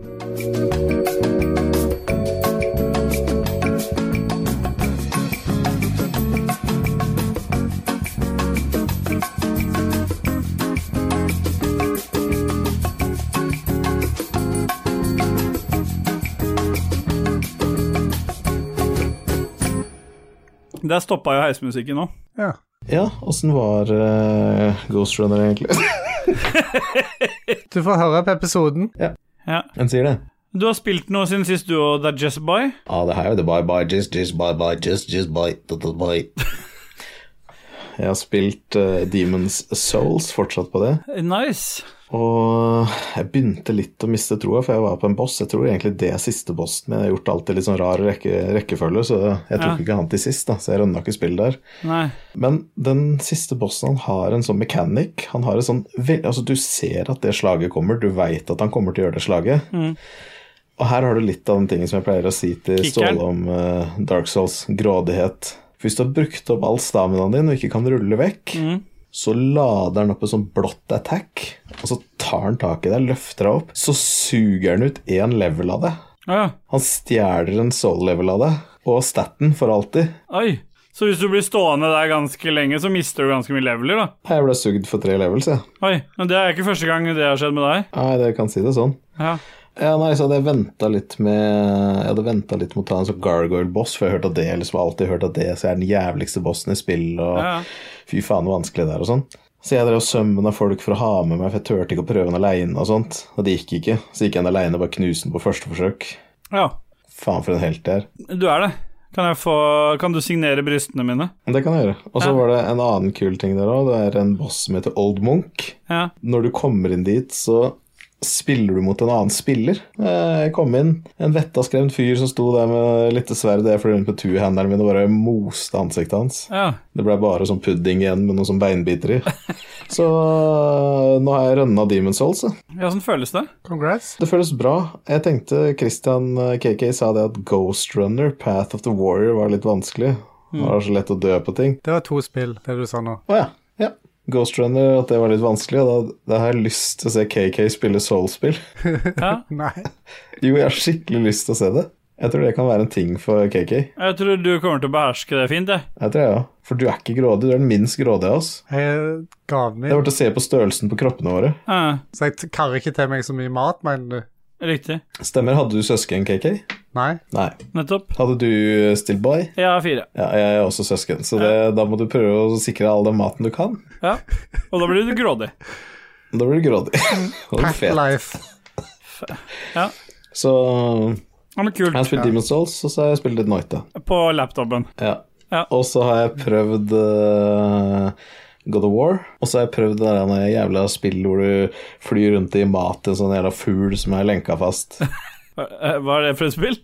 Der stoppa jo heismusikken nå.
Ja.
Ja, åssen var eh, Ghost Runner, egentlig?
Du får høre på episoden.
Ja.
Hvem sier det?
Du har spilt noe siden sist, du og The Jess Boy.
Ja, Ah, det her er jo det bye bye, just, just bye bye, just, just bye, da, da, bye. Jeg har spilt eh, Demons Souls, fortsatt på det.
Nice.
Og jeg begynte litt å miste troa, for jeg var på en boss. Jeg tror egentlig det er siste bossen min. Jeg har gjort alt i litt sånn rar rekke, rekkefølge, så jeg tok
Ja.
ikke han til sist, da, så jeg rønna ikke spillet der.
Nei.
Men den siste bossen han har en sånn mechanic. Han har en sånn vel- altså Du ser at det slaget kommer, du veit at han kommer til å gjøre det slaget. Og her har du litt av den tingen som jeg pleier å si til
Kickeren.
Ståle om eh, Dark Souls. Grådighet. Hvis du har brukt opp all staminaen din og ikke kan rulle vekk, så lader han opp et sånn blått attack, og så tar han tak i deg, løfter deg opp, så suger han ut én level av deg.
Å ja.
Han stjeler en soul-level av deg, og staten for alltid.
Oi. Så hvis du blir stående der ganske lenge, så mister du ganske mye leveler, da.
Jeg ble sugd for tre levels, jeg.
Oi. Men det er ikke første gang det har skjedd med deg.
Nei, det kan si det sånn.
Ja.
Ja, nei, så hadde jeg ventet litt med Jeg hadde ventet litt med å ta en sånn gargoyle-boss, for jeg hørte at det liksom alltid hørt at det så er den jævligste bossen i spill, og
Ja, ja.
fy faen hvor vanskelig det er, og sånn. Så jeg drev og sømmen av folk for å ha med meg, for jeg turte ikke å prøve den aleine og sånt. Og det gikk ikke. Så gikk jeg den aleine og bare knuste den på første forsøk.
Ja,
Faen for en helt det er.
du er det. Kan, jeg få, kan du signere brystene mine?
Det kan jeg gjøre. Og så
Ja.
var det en annen kul ting der òg. Det er en boss som heter Old Munch.
Ja.
Når du kommer inn dit, så spiller du mot en annen spiller. Eh, Jeg kom inn, en vettaskremt fyr som sto der med lite sverd og jeg fløy rundt med two-handeren min og bare moste ansiktet hans.
ja.
Det ble bare sånn pudding igjen med noe sånn beinbiter i. Så eh, nå har jeg rønna Demon Souls. jeg.
Ja, sånn føles det.
Congrats.
Det føles bra. Jeg tenkte Christian eh, KK sa det at Ghost Runner, Path of the Warrior, var litt vanskelig.
Mm.
Det var så lett å dø på ting.
Det var to spill, det du sa nå.
Å ja. ja. Ghost Runner, at det var litt vanskelig. og Da, da har jeg lyst til å se KK spille Soul-spill.
Ja.
Nei.
Jo, jeg har skikkelig lyst til å se det. Jeg tror det kan være en ting for KK.
Jeg tror du kommer til å beherske det fint, jeg.
Jeg tror jeg, ja. For du er ikke grådig, du er den minst grådige av oss.
Jeg gav
Det
meg,
er bare å se på størrelsen på kroppene våre.
Ja,
så jeg t- karrer ikke til meg så mye mat, mener du?
riktig.
Stemmer, hadde du søsken, KK?
Nei.
Nei.
Nettopp.
Hadde du stillboy?
Jeg har fire.
Ja, jeg er også søsken, så det, da må du prøve å sikre all den maten du kan.
Ja. Og da blir du grådig.
Da blir du grådig. Og
Pack
fet.
life.
Så
Ja, men
jeg har
kult.
spilt Demon's Souls, og så har jeg spilt litt Noita.
På laptopen.
Ja.
Ja.
Og så har jeg prøvd eh, God of War, og så har jeg prøvd det der jævla spillet hvor du flyr rundt i mat til en sånn jævla fugl som er lenka fast.
Hva eh, hva er det for et spill?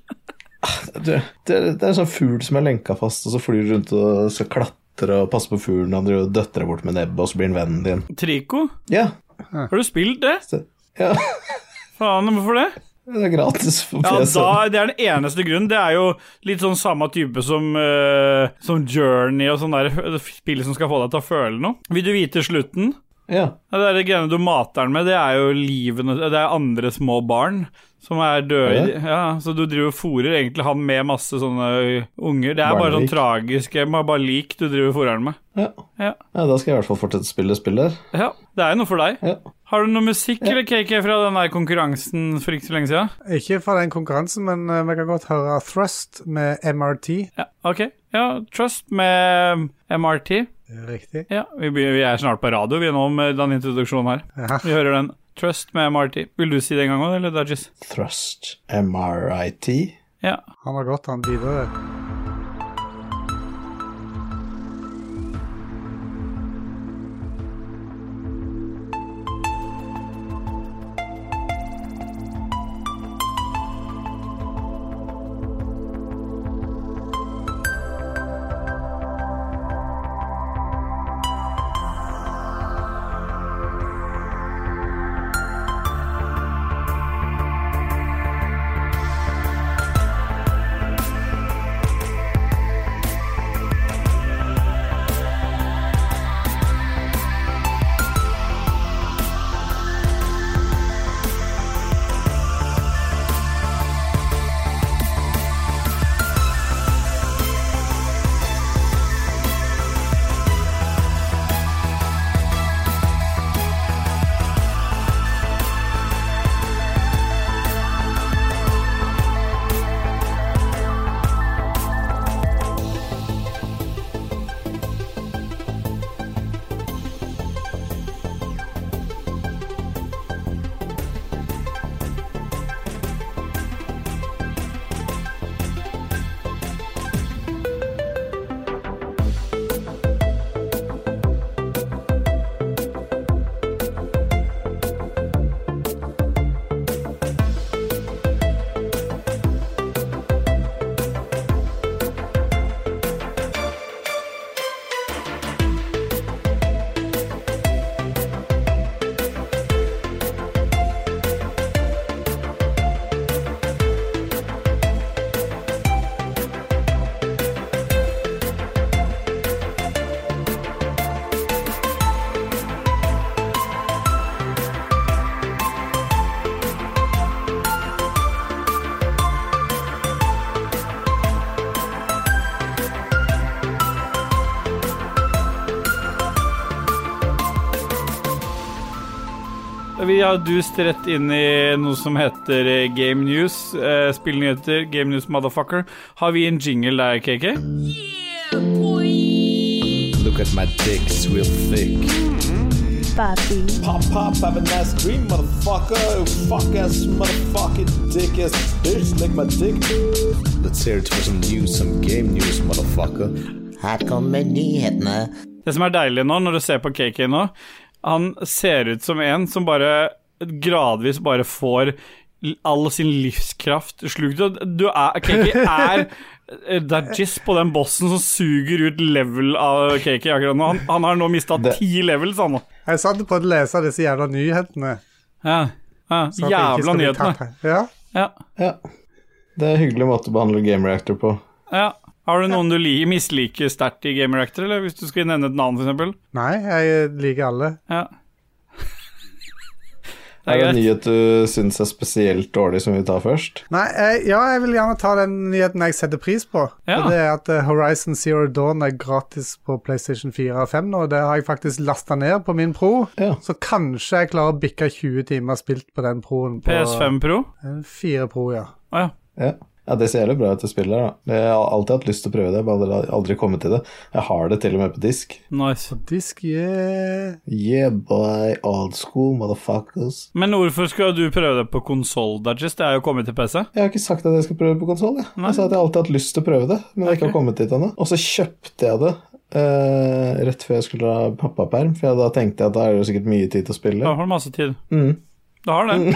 Det, det, er- det er en sånn fugl som er lenka fast, og så flyr du rundt og skal klatre og passe på fuglen, han driver og døtter deg bort med nebbet, og så blir han vennen din.
Trico?
Ja.
Har du spilt det?
Så, ja.
Faen, hvorfor det?
Det er gratis på
Ja,
PC.
da, Det er den eneste grunnen. Det er jo litt sånn samme type som, eh, som Journey og sånne der spill som skal få deg til å føle noe. Vil du vite slutten?
Ja.
Ja, Det er det greiene du mater den med, det er jo livene Det er andre små barn som er døde.
Er det?
Ja, så du driver og fôrer egentlig han med masse sånne øh, unger. Det er bare sånn
Barnelik.
tragisk eh, bare lik du driver og fôrer den med.
Ja.
Ja.
ja, da skal jeg i hvert fall fortsette å spille spill der.
Ja, det er jo noe for deg.
Ja.
Har du noe musikk eller KK fra den der konkurransen for ikke så lenge siden?
Ikke fra den konkurransen, men eh, vi kan godt høre Thrust med MRT.
Ja, ok. Ja, Trust med MRT.
Riktig.
Ja, vi, begynner, vi er snart på radio, vi er nå med den introduksjonen her.
Ja.
Vi hører den. Trust med MRT. Vil du si det en gang òg, eller Dodges?
Thrust MRIT.
Ja.
Han var godt, han videre.
Vi har dust rett inn i noe som heter eh, Game News. Eh, Spillnyheter, Game News Motherfucker. Har vi en jingle der, KK?
Look at my dick, it's real thick.
Papi.
Pop, pop, have a nice dream, motherfucker. Fuck ass, motherfucking dick ass bitch, lick my dick. Let's hear it for some news, some game news, motherfucker.
Her kommer nyhetene.
Det som er deilig nå, når du ser på KK nå, han ser ut som en som bare gradvis bare får l- all sin livskraft slukt. Og Du er, KK er eh, Dajis på den bossen som suger ut level av KK akkurat nå. Han, han har nå mista
Det-
ti levels, han nå.
Jeg satt og prøvde å lese disse jævla nyhetene.
Ja, ja.
at jeg ikke
Jævla
skal bli tatt
nyhetene.
her. Ja.
Ja,
Ja. Det er en hyggelig måte å behandle Game Reactor på.
ja. Har du noen du li- misliker sterkt i Game Reactor, eller hvis du skulle nevne et navn, f.eks.?
Nei, jeg liker alle.
Ja.
Er det en
greit.
nyhet du syns er spesielt dårlig, som vi tar først?
Nei, jeg, ja, jeg vil gjerne ta den nyheten jeg setter pris på.
Ja.
Og det er at eh, Horizon Zero Dawn er gratis på PlayStation 4 og 5 nå. og Det har jeg faktisk lasta ned på min pro,
Ja.
så kanskje jeg klarer å bikke 20 timer spilt på den proen. På
PS5 Pro?
Eh, 4 Pro, ja.
Å ja.
Ja. ja, det ser jævlig bra ut til spillet, da. Jeg har alltid hatt lyst til å prøve det, jeg har bare aldri- aldri kommet til det. Jeg har det til og med på disk.
Nice.
Disk, yeah.
Yeah, boy, old school, motherfuckers.
Men hvorfor skal du prøve det på konsoll, Dajis? Det er jo kommet til PC.
Jeg har ikke sagt at jeg skal prøve på konsoll. Jeg. jeg sa at jeg alltid har hatt lyst til å prøve det, men jeg ikke har kommet dit ennå. Og så kjøpte jeg det eh, rett før jeg skulle ha pappaperm, for jeg da tenkte jeg at da er det jo sikkert mye tid til å
Da
spille.
har du masse tid.
Mm.
Du har det.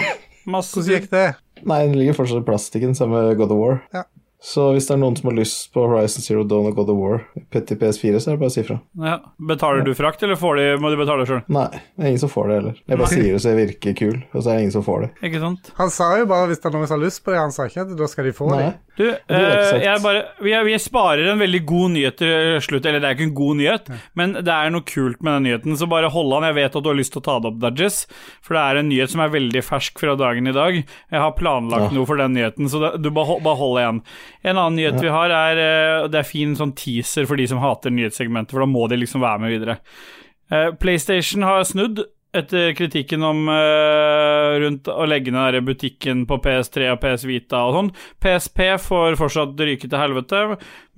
Masse
Hvordan gikk
tid.
det?
Nei, den ligger fortsatt i plastikken sammen med God of War.
Ja.
Så hvis det er noen som har lyst på Horizon Zero Dawn og God of War til PS4, så er det bare å si fra.
Ja. Betaler du frakt, eller får de, må de betale sjøl?
Nei, det er ingen som får det heller. Jeg bare sier det så jeg virker kul, og så er det ingen som får det.
Ikke sant?
Han sa jo bare hvis det er noen som har lyst på det, han sa ikke at da skal de få
Nei.
det.
Du,
har jeg ikke
eh,
sagt.
jeg bare, vi, er- vi sparer en veldig god nyhet til slutt. Eller det er ikke en god nyhet, men det er noe kult med den nyheten. Så bare hold an. Jeg vet at du har lyst til å ta det opp, Dajis. For det er en nyhet som er veldig fersk fra dagen i dag. Jeg har planlagt
Ja.
noe for den nyheten, så det, du bare, hold- bare hold igjen. En annen nyhet vi har, er eh, Det er fin sånn teaser for de som hater nyhetssegmentet, for da må de liksom være med videre. Eh, PlayStation har snudd etter kritikken om eh, rundt å legge ned den der butikken på PS3 og PS Vita og sånn. PSP får fortsatt ryke til helvete,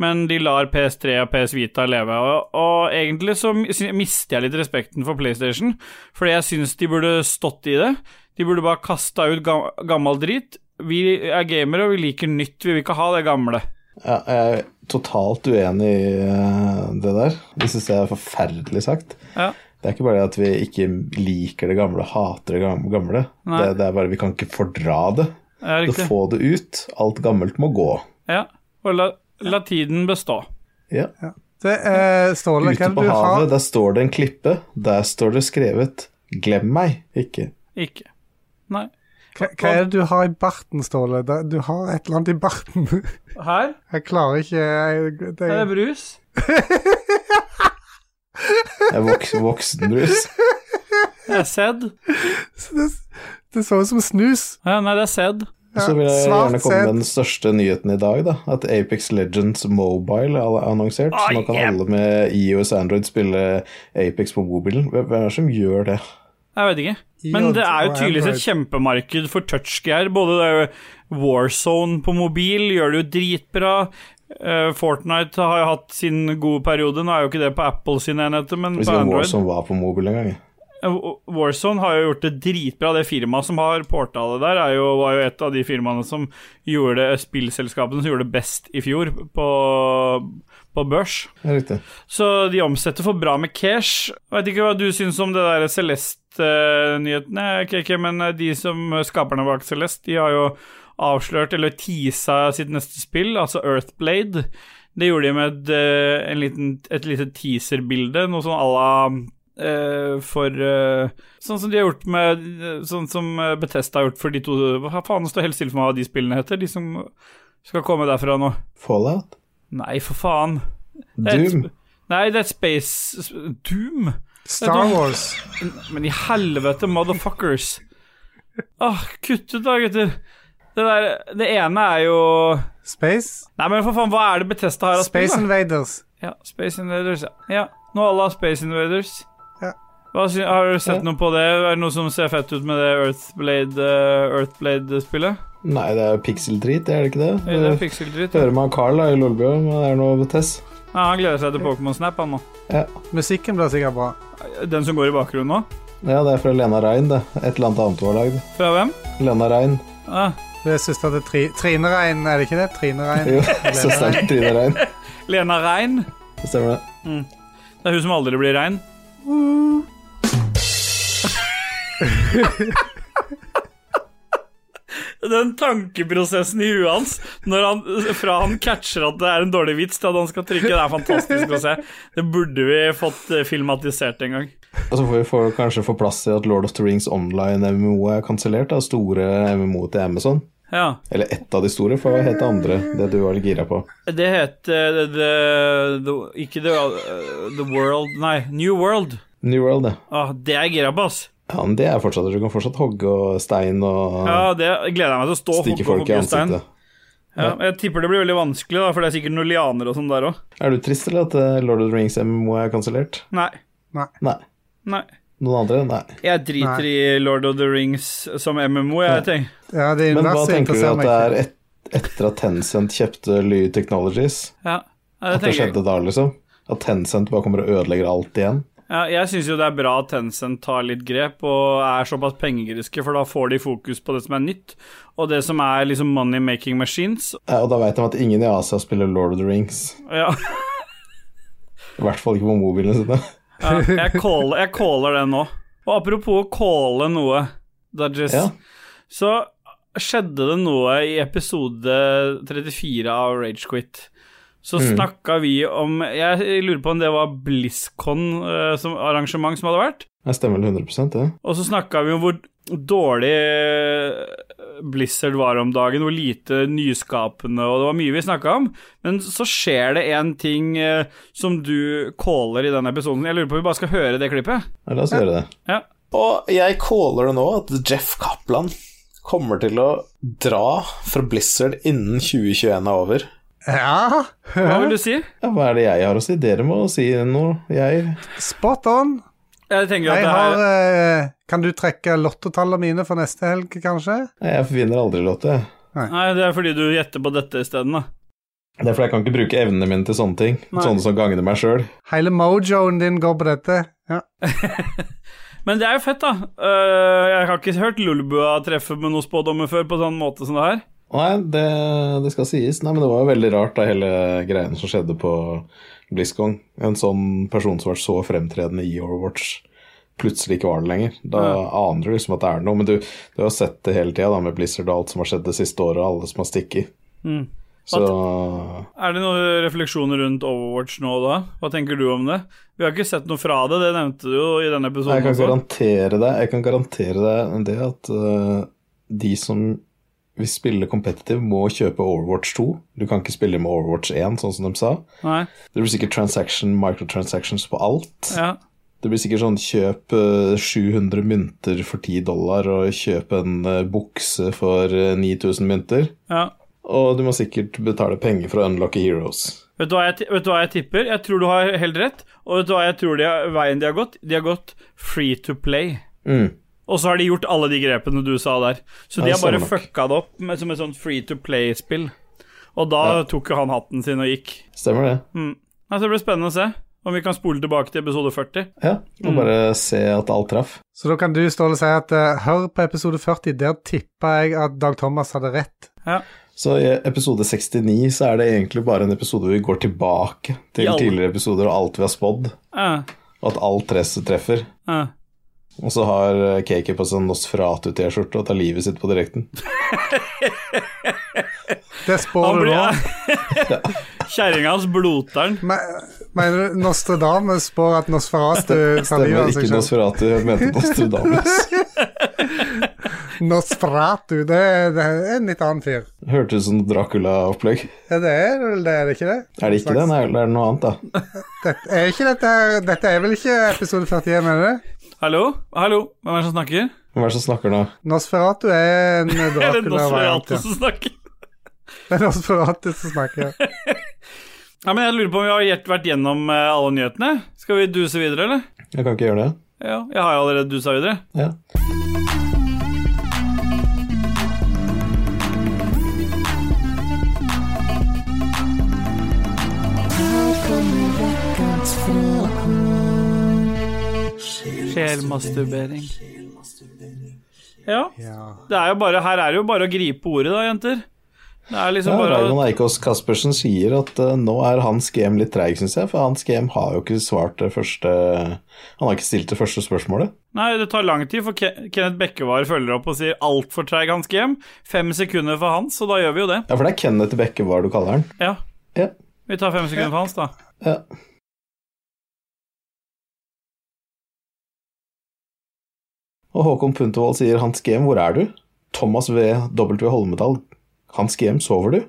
men de lar PS3 og PS Vita leve. Og, og egentlig så mi- mister jeg litt respekten for PlayStation, fordi jeg syns de burde stått i det. De burde bare kasta ut gam gammel drit. Vi er gamere, og vi liker nytt. Vi vil ikke ha det gamle.
Ja, jeg er totalt uenig i eh, det der. Det syns jeg er forferdelig sagt.
Ja.
Det er ikke bare det at vi ikke liker det gamle, hater det gam- gamle.
Nei.
Det, det er bare vi kan ikke fordra det.
Det er
Så
riktig.
få det ut. Alt gammelt må gå.
Ja. Og la, la tiden bestå.
Ja.
Det, eh, Ståle, hva
Ute
er
på
det du
havet,
har?
der står det en klippe. Der står det skrevet 'Glem meg ikke'.
Ikke. Nei.
Hva, hva er det du har i barten, Ståle? Da- Du har et eller annet i barten.
Her
Jeg klarer ikke jeg, det,
er det brus.
Det er voks, voksenbrus.
Det er sæd.
det, det så ut som snus.
Ja, nei, det er sæd.
Så vil jeg
svart
gjerne komme
sett.
med den største nyheten i dag, da. At Apex Legends Mobile er annonsert. Så nå kan alle med IOS Android spille Apex på mobilen. Hvem hvem er det som gjør det?
Jeg vet ikke. Men det er jo tydeligvis et kjempemarked for touchgear. Både det er jo Warzone på mobil gjør det jo dritbra. Eh, Fortnite har jo hatt sin gode periode. Nå er jo ikke det på Apple sine enheter, men
Hvis
på
ikke
Android.
Warzone var på mobil en gang. jeg.
Eh, Warzone har jo gjort det dritbra. Det firmaet som har porta det der, er jo, var jo et av de firmaene som gjorde det, spillselskapene som gjorde det best i fjor på, på børs.
Det er riktig.
Så de omsetter for bra med cash. Jeg Vet ikke hva du syns om det der Celeste-nyhetene, KK, men eh, de som skaperne bak Celeste, de har jo avslørt, eller teasa sitt neste spill, altså Earthblade. Det gjorde de med eh, en liten, et lite teaserbilde, noe sånn à la eh, for eh, Sånn som de har gjort med Sånn som eh, Bethesda har gjort for de to Hva faen det står helt stille for meg hva de spillene heter? De som skal komme derfra nå.
Fallout?
Nei, for faen. Det er et
Doom?
sp- Nei, det er et space sp- Doom?
Star Wars.
Men i helvete, motherfuckers. Åh, kutt ut da, gutter. Det der Det ene er jo
Space.
Nei, men for faen, hva er det Betesta har av spill,
Space
da?
Invaders.
Ja, Space Invaders, ja. ja. Nå alle har Space Invaders.
Ja.
Hva sy har du sett noe på det? Er det noe som ser fett ut med det Earthblade, eh, Earthblade-spillet?
Nei, det er pixel-drit, er det ikke det?
Eh.
Det er
det
pikseldritt.
hører man Carl da, i Lolbua, men det er noe Tess.
Ja, han gleder seg til Pokémon Snap, han nå.
Musikken blir sikkert bra.
Den som går i bakgrunnen nå?
Ja, det er fra Lena Rein, det. Et eller annet annet hun har lagd.
Fra hvem?
Lena Rein.
Ah,
Det er søstera til Tri Trine Rein, er det ikke det? Trine Rein.
Jo, søsteren til Trine Rein.
Lena Rein.
Det Stemmer det.
Det er hun som aldri blir rein. Den tankeprosessen i huet hans når han, fra han catcher at det er en dårlig vits, til at han skal trykke, det er fantastisk å se. Det burde vi fått eh, filmatisert en gang.
Og så får vi få- kanskje få plass til at Lord of the Rings online MMO er kansellert. da. Store MMO til Amazon.
Ja.
Eller ett av de store, for hva het det andre? Det du var litt gira på.
Det heter eh, the, the, Ikke The, eh, the World Nei, New World.
New World, det.
Ah, det er jeg gira på, ass.
Ja, men det er fortsatt Du kan fortsatt hogge og stein og
Ja, det gleder jeg meg til å stå og
stikke
hoppe
folk
opp
i
i stein.
ansiktet.
Ja, jeg tipper det blir veldig vanskelig, da, for det er sikkert noen lianer og sånn der òg.
Er du trist eller at eh, Lord of the Rings MMO er kansellert?
Nei.
Nei.
Nei.
Noen andre? Nei.
Jeg driter i Lord of the Rings som MMO, jeg tenker.
Ja, det
Men hva
universet
tenker du
interesserer
at
meg
det
ikke.
er et, etter at Tencent kjøpte Ly Technologies?
Ja. Ja, det
At det
tenker jeg.
skjedde da, liksom? At Tencent bare kommer og ødelegger alt igjen?
Ja, jeg syns jo det er bra at Tencent tar litt grep og er såpass pengegriske, for da får de fokus på det som er nytt, og det som er liksom money making machines.
Ja, Eh, og da veit de at ingen i Asia spiller Lord of the Rings.
Ja,
I hvert fall ikke på mobilene sine.
ja jeg, caller, jeg caller det nå. Og apropos å calle noe, Dodges,
Ja.
så skjedde det noe i episode 34 av Ragequit. Så snakka vi om Jeg lurer på om det var BlizzCon eh, som arrangement som hadde vært.
Jeg stemmer vel 100 det.
Og så snakka vi om hvor dårlig eh, Blizzard var om dagen, hvor lite nyskapende, og det var mye vi snakka om. Men så skjer det en ting eh, som du caller i den episoden. Jeg lurer på om vi bare skal høre det klippet.
Ja, la oss gjøre det.
Ja.
Og jeg caller det nå at Jeff Kaplan kommer til å dra fra Blizzard innen 2021 er over.
Ja,
Hva vil du si?
Ja, hva er det jeg har å si? Dere må si noe. Jeg
spot on.
Jeg tenker at
Jeg
det
har
her
eh, Kan du trekke lottotallene mine for neste helg, kanskje?
Nei, Jeg vinner aldri låter, jeg.
Nei, det er fordi du gjetter på dette isteden, da.
Det er fordi jeg kan ikke bruke evnene mine til sånne ting.
Nei.
Sånne som gagner meg sjøl.
Hele mojoen din går på dette. Ja.
Men det er jo fett, da. Eh, jeg har ikke hørt Lulbua treffe med noen spådommer før på sånn måte som det her.
Nei, det, det skal sies. Nei, men det var jo veldig rart, da, hele greiene som skjedde på BlizzCon. En sånn person som var så fremtredende i Overwatch, plutselig ikke var det lenger. Da aner du liksom at det er noe. Men du, du har sett det hele tida med Blizzard og alt som har skjedd det siste året, og alle som har stikket.
Mm.
Så
Er det noen refleksjoner rundt Overwatch nå da? Hva tenker du om det? Vi har ikke sett noe fra det, det nevnte du jo i denne
Nei,
episoden
jeg kan
også.
garantere deg Jeg kan garantere deg det at øh, de som vil spille competitive, må kjøpe Overwatch 2. Du kan ikke spille med Overwatch 1, sånn som de sa.
Nei,
Det blir sikkert transaction, microtransactions på alt.
ja.
Det blir sikkert sånn kjøp øh, 700 mynter for 10 dollar, og kjøp en øh, bukse for øh, 9000 mynter.
ja.
Og du må sikkert betale penger for å unlocke heroes.
Vet du, hva jeg, ti- vet du hva jeg tipper? Jeg tror du har helt rett. Og vet du hva jeg tror de har, veien de har gått? De har gått free to play.
Mm.
Og så har de gjort alle de grepene du sa der. Så
Ja,
de har bare
stemmer nok.
fucka det opp med, som et sånt free to play-spill. Og da tok jo han hatten sin og gikk.
Stemmer det.
Mm. Nei, så det blir spennende å se om vi kan spole tilbake til episode 40.
Ja.
Mm.
Må bare se at alt traff.
Så da kan du Ståle, si at eh, hør på episode 40, der tippa jeg at Dag Thomas hadde rett.
Så i episode 69 så er det egentlig bare en episode hvor vi går tilbake til
I alle-
tidligere episoder og alt vi har spådd,
Eh,
og at alt tresset treffer.
eh.
Og så har eh, KK på seg en Nosferatu-T-skjorte og tar livet sitt på direkten.
Det
Han
spår du
blir-
nå.
Kjerringa hans bloter den.
Me- Mener du Nostradamus spår at Nosferatu tar livet
Stemmer
av
ikke
seg selv?
Nosferatu, jeg mente Nostradamus.
Nosferatu, det er, det er en litt annen fyr.
Hørtes ut som Dracula-opplegg.
Ja, det er vel det, er det ikke det?
Er det ikke det? Nei, det er det noe annet, da.
Dette er, ikke dette, her- dette er vel ikke episode 41, mener du?
Hallo? Hallo? Hvem er det som snakker?
Hvem er det som snakker nå?
Nosferatu er en
Er det
Dracula-variant.
Nosferatu
Ja.
som snakker?
Det er Nosferatu som snakker. ja.
Ja, men jeg lurer på om vi har gjett- vært gjennom eh, alle nyhetene. Skal vi duse videre, eller?
Jeg kan ikke gjøre det.
Ja, jeg har allerede dusa videre.
Ja.
Sjelmasturbering. Ja.
Ja.
Det er jo bare, her er det jo bare å gripe ordet, da, jenter. Det er
Ja,
liksom bare
Raymond Eikås Caspersen sier at eh, nå er hans game litt treig, syns jeg. For hans game har jo ikke svart det første Han har ikke stilt det første spørsmålet.
Nei, det tar lang tid, for Ke- Kenneth Bekkevar følger opp og sier altfor treig Hans Game. Fem sekunder for Hans, og da gjør vi jo det.
Ja, for det er Kenneth Bekke, hva er det du kaller han?
Ja.
Ja.
Vi tar fem sekunder for Hans, da.
Ja. Og Håkon Puntervold sier 'Hans GM, hvor er du?' Thomas V. W. Holmedal. 'Hans GM, sover du?'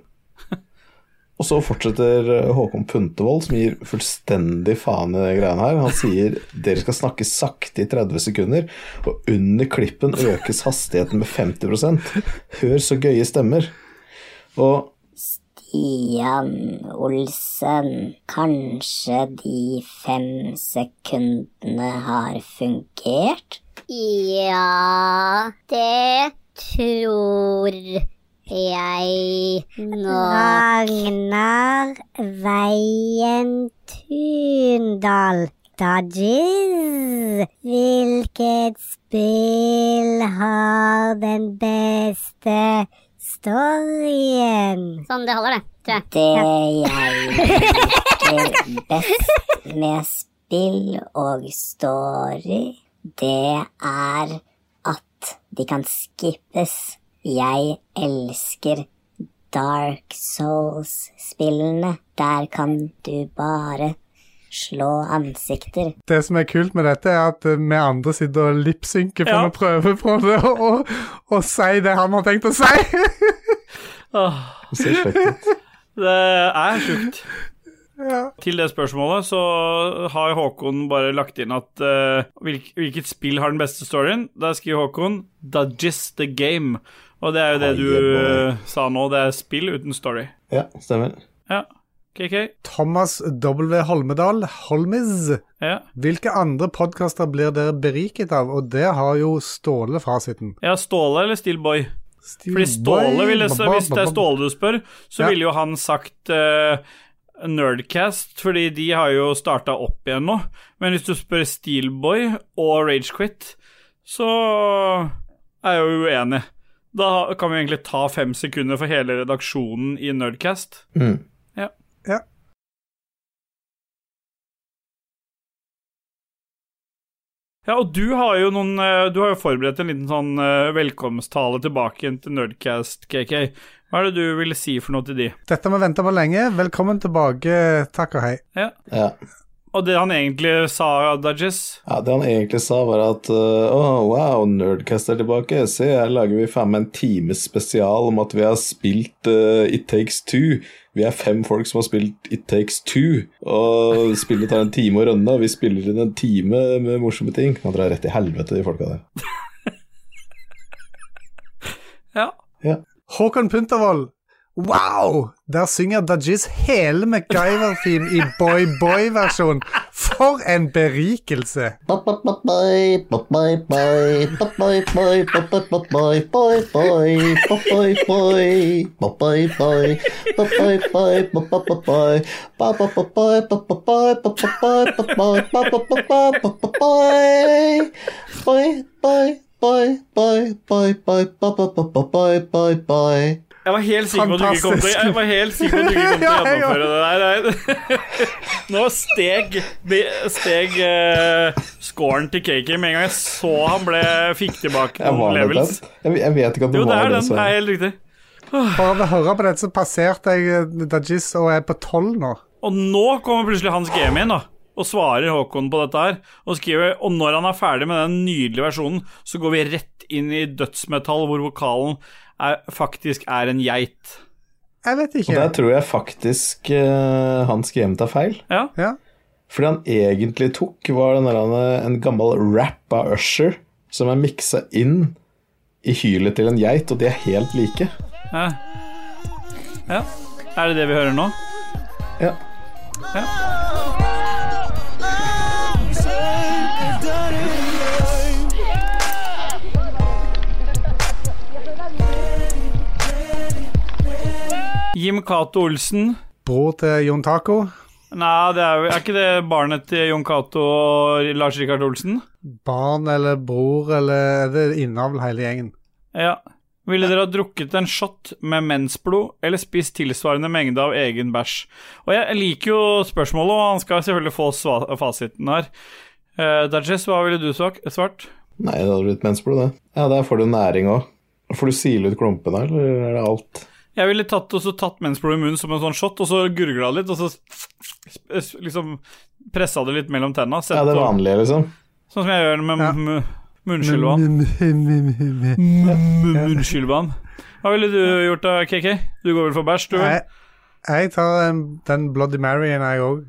Og så fortsetter eh, Håkon Puntervold, som gir fullstendig faen i de greiene her. Han sier 'dere skal snakke sakte i 30 sekunder', og under klippen økes hastigheten med 50 Hør så gøye stemmer. Og
Stian Olsen, kanskje de fem sekundene har fungert? Ja, det tror jeg nå. Ragnar Veien Tundal. Dodges, hvilket spill har den beste storyen?
Sånn, det holder, det. Tror jeg.
Det jeg liker best med spill og story, det er at de kan skippes. Jeg elsker Dark Souls-spillene. Der kan du bare slå ansikter.
Det som er kult med dette, er at eh, vi andre sitter og lipsynker for
Ja.
å prøve på det, og, og, og si det han har tenkt å si.
Åh,
det ser slekt ut.
det er sjukt. Til det spørsmålet så har Håkon bare lagt inn at eh, hvilk, hvilket spill har den beste storyen? Der skriver Håkon 'Dodges the Game'. Og det er jo det
Hei,
du
boy.
eh, sa nå, det er spill uten story.
Ja, stemmer.
Ja, KK.
Thomas W. Holmedal, Holmiz.
Ja.
Hvilke andre podkaster blir dere beriket av? Og det har jo Ståle fasiten.
ja, Ståle eller Steelboy? Fordi Ståle ville, så Hvis det er Ståle du spør, så
Ja.
ville jo han sagt eh, Nerdcast, fordi de har jo starta opp igjen nå. Men hvis du spør Steelboy og Ragequit, så er jeg jo uenig. Da kan vi egentlig ta fem sekunder for hele redaksjonen i Nerdcast.
Mm.
Ja.
Ja.
Ja, og du har jo noen eh, Du har jo forberedt en liten sånn eh, velkomsttale tilbake igjen til Nerdcast, KK. Hva er det du ville si for noe til de?
Dette har vi venta på lenge. Velkommen tilbake, takk og hei.
Ja.
Og det han egentlig sa, Dudges
Ja, Det han egentlig sa, var at eh, Å, wow, Nerdcast er tilbake. Se, her lager vi faen meg en time spesial om at vi har spilt eh, It Takes Two. Vi er fem folk som har spilt It Takes Two. Og spillet tar en time å rønne, og vi spiller inn en time med morsomme ting. Man drar rett i helvete, de folka der.
Ja.
Håkon Puntervold. Wow! Der synger Dajis hele MacGyver-theme i Boy Boy-versjon. For en berikelse!
Jeg var helt sikker på at du ikke kom til Jeg var helt sikker på at du ikke kom til å
Ja, ja.
gjennomføre det der. Nei. Nå steg, de- steg eh, scoren til KK med en gang jeg så han ble fikk tilbake
Jeg
noen
var nok
levels.
den. Jeg, jeg vet ikke at det
Jo, det
var
er
det.
den.
så-
Det er helt riktig.
Bare ved å høre på dette, så passerte jeg Dajis og er på tolv nå.
Og nå kommer plutselig Hans Game inn da og svarer Håkon på dette her. Og skriver Og når han er ferdig med den nydelige versjonen, så går vi rett inn i dødsmetall, hvor vokalen er, faktisk er en geit.
Jeg vet
Og
ikke.
der tror jeg faktisk eh, han skrev tar feil.
Ja.
Ja.
Fordi han egentlig tok, var den der, han, eh, en gammel rap av Usher som er miksa inn i hylet til en geit, og de er helt like.
ja. ja. Er det det vi hører nå?
Ja.
Ja.
Safe and dirty.
Jim Cato Olsen.
Bror til Jon Taco.
Nei, det er, jo- er ikke det barnet til Jon Cato og Lars Rikard Olsen?
Barn eller bror eller er det innavl hele gjengen?
Ja. Ville dere ha drukket en shot med mensblod, eller spist tilsvarende mengde av egen bæsj? Og jeg liker jo spørsmålet, og han skal selvfølgelig få sva- fasiten her. Uh, Dajess, hva ville du svak- svart?
Nei, det hadde blitt mensblod, det. Ja, der får du næring òg. Får du sile ut klumpene, eller er det alt?
Jeg ville tatt, og så tatt mensblod i munnen som en sånn shot, og så gurgla det litt, og så sp- sp- liksom pressa det litt mellom tenna. sett
Ja, det
sånn-
vanlige, liksom.
Sånn som jeg gjør med
Ja.
ja. munnskylvann.
Mm,
Munnskylvann. Hva ville du gjort da, KK? Du går vel for bæsj, du? vel?
Jeg, jeg tar en, den Bloody Maryen, jeg òg.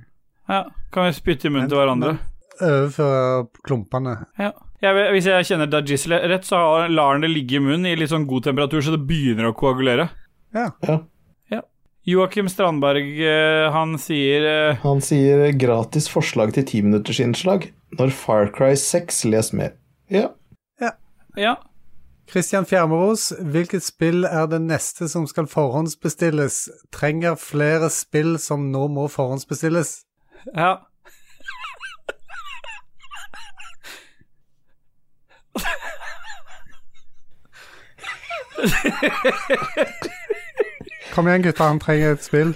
Ja. Kan vi spytte i munnen til hverandre?
Overfører klumpene.
Ja. Jeg, vet- hvis jeg kjenner Dajis rett, så har- lar han det ligge i munnen i litt sånn god temperatur, så det begynner å koagulere.
Ja.
Ja.
Joakim Strandberg, eh, han sier eh,
Han sier 'gratis forslag til timinuttersinnslag' når Far Cry 6 les mer. Ja.
Ja.
Christian Fjermeros, hvilket spill er det neste som skal forhåndsbestilles? Trenger flere spill som nå må forhåndsbestilles?
Ja.
Kom igjen, gutter, han trenger et spill.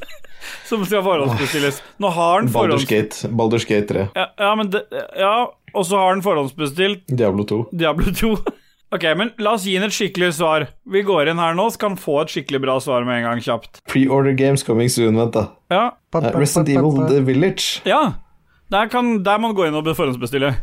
Som skal forhåndsbestilles. Nå har han
Baldur's
forhåndsbestilt
Gate, Baldur's Gate 3,
ja, ja, men det, ja, og så har han forhåndsbestilt
Diablo 2.
Diablo 2. Ok, men la oss gi han et skikkelig svar. Vi går inn her nå, så kan han få et skikkelig bra svar med en gang, kjapt.
Pre-order games coming soon, vent da.
Ja.
Ba- ba-
Eh, Resident
ba- ba-
Evil
ba-
The Village.
ja. Der, kan, der må han gå inn og forhåndsbestille.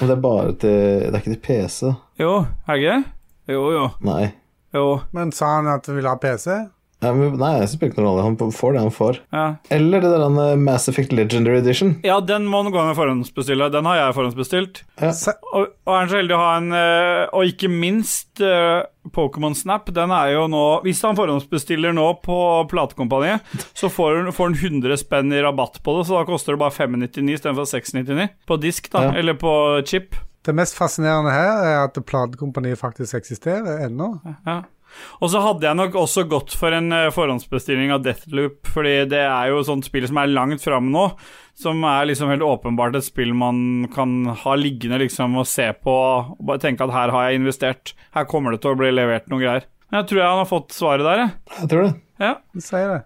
Men det er bare til Det er ikke til PC.
Jo, er det ikke det? Jo, jo.
Nei.
Jo.
Men sa han at du ville ha PC?
Nei, men- nei, det spiller ikke noen rolle. Han får det han får.
Ja.
Eller det der han, eh, Mass Effect Legendary Edition.
ja, den må han gå inn og forhåndsbestille. Den har jeg forhåndsbestilt.
Se,
Og, og er han så heldig å ha en eh, Og ikke minst eh, Pokémon Snap. Den er jo nå Hvis han forhåndsbestiller nå på platekompaniet, så får han, får han 100 spenn i rabatt på det, så da koster det bare 599 istedenfor 699. På disk, da.
Ja.
Eller på chip.
det mest fascinerende her er at platekompaniet faktisk eksisterer ennå.
Ja. Og så hadde jeg nok også gått for en eh, forhåndsbestilling av Deathloop, fordi det er jo et sånt spill som er langt fram nå, som er liksom helt åpenbart et spill man kan ha liggende liksom og se på og bare tenke at her har jeg investert, her kommer det til å bli levert noe greier. Men jeg tror jeg han har fått svaret der, jeg.
Jeg tror det.
Ja,
Du sier det.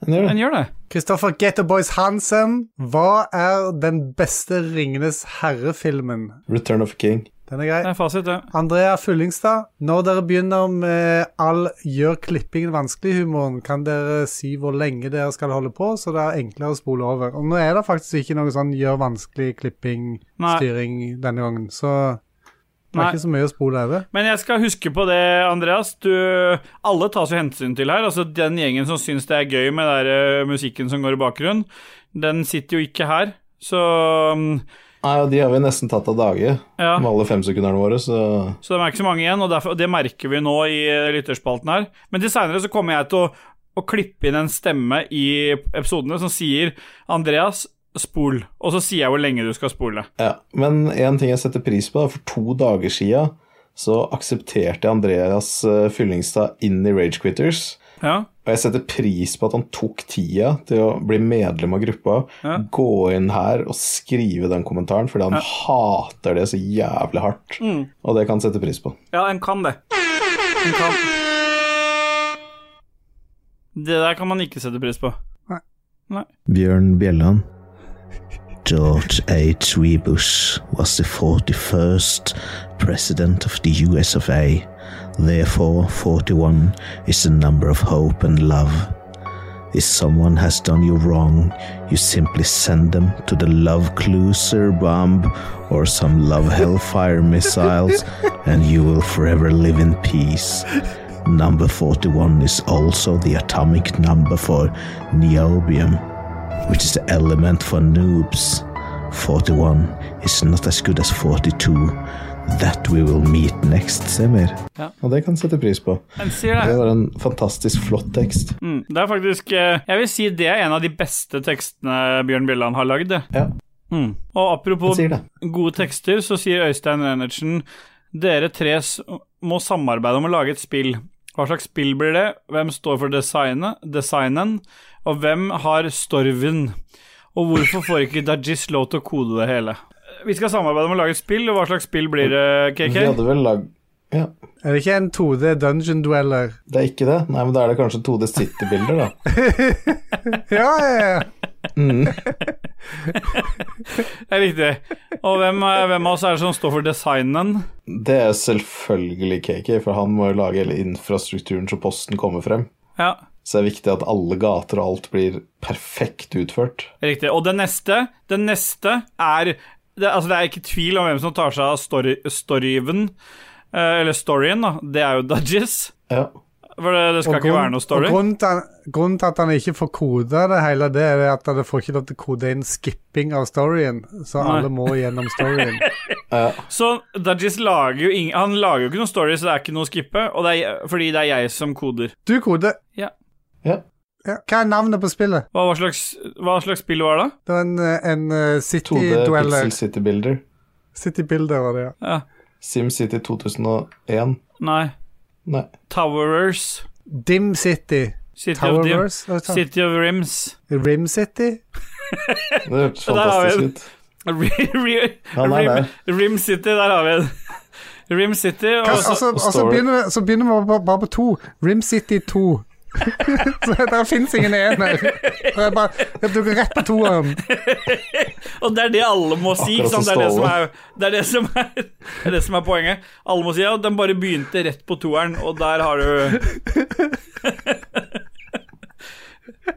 Han gjør det.
den gjør det.
Kristoffer Getto Boys Hansen, hva er den beste Ringenes herre-filmen?
Return of King.
Den er grei.
Det er fasit, det.
Andrea Fyllingstad, når dere begynner med all gjør klippingen vanskelig-humoren, kan dere si hvor lenge dere skal holde på, så det er enklere å spole over. Og nå er det faktisk ikke noe sånn gjør vanskelig
Nei.
klipping-styring denne gangen, så det er
Nei.
ikke så mye å spole over.
Men jeg skal huske på det, Andreas. Du, alle tas jo hensyn til her. Altså, den gjengen som syns det er gøy med den der, eh, musikken som går i bakgrunnen, den sitter jo ikke her. Så mm,
Nei, og de har vi nesten tatt av dage
ja.
med alle femsekunderne våre, så
Så det er ikke så mange igjen, og derfor, det merker vi nå i eh, lytterspalten her. Men til seinere så kommer jeg til å, å klippe inn en stemme i episodene som sier 'Andreas, spol', og så sier jeg hvor lenge du skal spole.
ja. Men én ting jeg setter pris på, da, for to dager sia så aksepterte jeg Andreas eh, Fyllingstad inn i Rage Quitters.
Ja,
Og jeg setter pris på at han tok tida til å bli medlem av gruppa,
Ja.
gå inn her og skrive den kommentaren, fordi han hater det så jævlig hardt.
Mm.
Og det kan han sette pris på.
ja en kan det. En kan. Det der kan man ikke sette pris på.
Bjørn Bjelland. George H. W. Bush was the 41st president of the US of A. Therefore, 41 is the number of hope and love. If someone has done you wrong, you simply send them to the Love Closer bomb or some Love Hellfire missiles, and you will forever live in peace. Number 41 is also the atomic number for niobium which is the element for noobs. 41 is not as good as 42. That we will meet next summer.
Og det kan han sette pris på.
En sier det.
Det var en fantastisk flott tekst.
Mm, det er faktisk eh, Jeg vil si det er en av de beste tekstene Bjørn Bjelland har lagd. det.
Ja.
Mm. Og apropos
Han sier det.
gode tekster, så sier Øystein Reinertsen Dere tre s- må samarbeide om å lage et spill. Hva slags spill blir det? Hvem står for designet, designen? Og hvem har storven? Og hvorfor får ikke Dajis lov til å kode det hele? Vi skal samarbeide om å lage et spill, og hva slags spill blir det, KK?
Vi hadde vel lag... Ja,
Er det ikke en 2D dungeon dweller?
det er ikke det. Nei, men da er det kanskje 2D City-bilder, da.
Ja, ja, ja.
Det er riktig. Og hvem, er- hvem av oss er det som står for designen?
Det er selvfølgelig KK, for han må jo lage hele infrastrukturen så posten kommer frem.
Ja,
Så det er viktig at alle gater og alt blir perfekt utført.
riktig. Og den neste, den neste er det, Altså, det er ikke tvil om hvem som tar seg av story, storyen, eh, eller storyen, da. Det er jo Dajis.
Ja.
For det, det skal
Og
ikke
grunn-
være noe story.
Og grunnen til, han- grunnen til at han ikke får koda det hele, det er det at han får ikke lov til å kode inn skipping av storyen, så
Nei.
alle må gjennom storyen.
Så Dajis lager jo ingen Han lager jo ikke noen story, så det er ikke noe å skippe. Og det er, fordi det er jeg som koder.
Du koder.
Ja.
Ja.
Ja. Hva er navnet på spillet?
Hva, hva, slags, hva slags spill var det?
Det var en, eh, en eh,
2D
City
Pixel
Dweller.
City-bilder.
City Builder var det, ja.
Ja.
SimCity 2001.
Nei.
Nei.
Towerers.
Dim City.
City of, Dim,
Towerverse. hva sa han?
City of Rims.
Rim City?
Det hørtes
der har vi
fantastisk
den.
ut.
Ri- ri-
Ja, nei,
Rim,
nei.
Rim City, der har vi den. Rim City og
Hva,
så-
altså, og så
story.
begynner, vi- så begynner vi bare- bare på to. Rim City 2. så der fins ingen ener. Det er bare- Du går rett på toeren.
Og det er det alle må si.
Akkurat
Ikke sant? Det,
som
er det, som
Ståle.
er, det, er det, som er, det er det som er poenget. Alle må si ja, den bare begynte rett på toeren, og der har du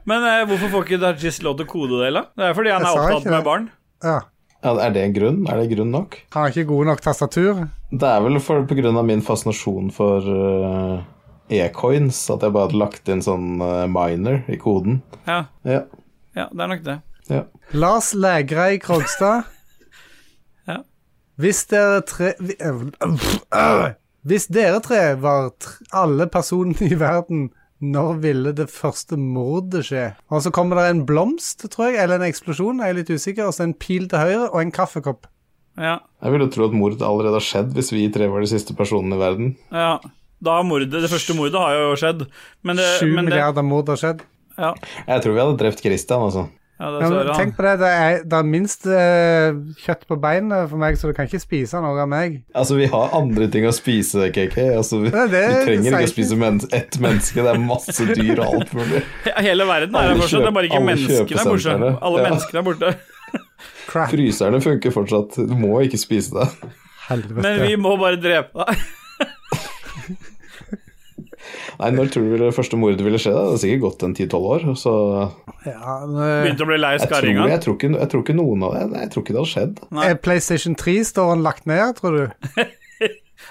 Men eh, hvorfor får ikke Dajis lov til å kode det, eller? Det er fordi han
Jeg
er
sa
opptatt
ikke
med
det.
barn.
Ja.
Ja, er det en grunn? Er det grunn nok?
Har ikke gode nok tastatur.
Det er vel for, på grunn av min fascinasjon for eh, e-coins at jeg bare hadde lagt inn sånn eh, miner i koden.
Ja,
Ja,
ja, det er nok det.
ja.
Lars Lægrei Krogstad.
Ja.
Hvis dere tre vi- øh, Hvis dere tre var tr alle personene i verden, når ville det første mordet skje? Og så kommer det en blomst, tror jeg, eller en eksplosjon, jeg er litt usikker, og så en pil til høyre og en kaffekopp.
Ja,
Jeg ville tro at mordet allerede har skjedd hvis vi tre var de siste personene i verden.
ja. Da har mordet, det første mordet har jo skjedd, men det,
Sju
men det ja,
milliarder mord har skjedd.
Jeg tror vi hadde drept Christian, altså.
ja, det
Ja,
ser
men,
han.
tenk på det, det er, det er minst eh, kjøtt på beinet for meg, så du kan ikke spise noe av meg.
Altså, vi har andre ting å spise, KK. Altså, vi,
Nei, det
vi trenger
sier
ikke å
ikke.
spise men ett menneske, det er masse dyr og alt mulig.
Hele verden er
Alle
her borte, det er bare
kjøp-
ikke
alle
menneskene er borte.
kjøpesentrene.
Alle
Ja.
menneskene er borte.
Crap,
Fryserne funker fortsatt, du må ikke spise det.
helvete.
Men vi må bare drepe deg.
Nei, når tror du det første mordet ville skje? da? Det er sikkert gått en 10-12 år, så
Ja, men-
Begynte å bli lei
jeg tror,
skarringa.
jeg, tror ikke, jeg tror ikke noen av det nei, Jeg tror ikke det hadde skjedd.
Nei.
Er eh, PlayStation 3-storen lagt ned, tror du?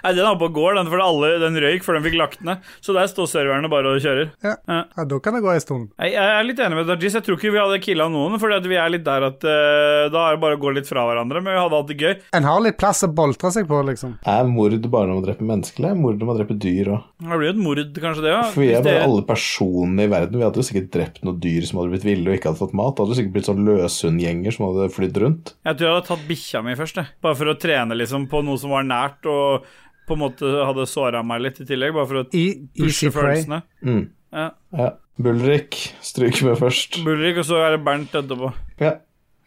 Nei, den er oppe og går, den, for alle, den røyk før den fikk lagt ned. Så der står serverne bare og kjører.
Ja, Da kan det gå en stund.
Jeg, jeg er litt enig med Dajis. Jeg tror ikke vi hadde killa noen, for vi er litt der at eh, da er det bare å gå litt fra hverandre. Men vi hadde hatt det gøy.
En har litt plass å boltre seg på, liksom.
Er mord bare når man dreper mennesker, eller er mord når man dreper dyr òg?
Det blir jo et mord, kanskje, det
For vi er
òg.
bare alle personene i verden. Vi hadde jo sikkert drept noen dyr som hadde blitt ville og ikke hadde fått mat. Det hadde jo sikkert blitt sånn løshundgjenger som hadde flydd rundt.
Jeg tror jeg hadde tatt bikkja mi først, jeg. Bare for å trene liksom på noe som var nært, og på en måte hadde såra meg litt i tillegg. Bare for å
I Easy
pushe
Prey.
følelsene.
Mm.
Ja.
Ja. Bulrik stryker med først.
Bulrik, og så er det Bernt etterpå.
Ja.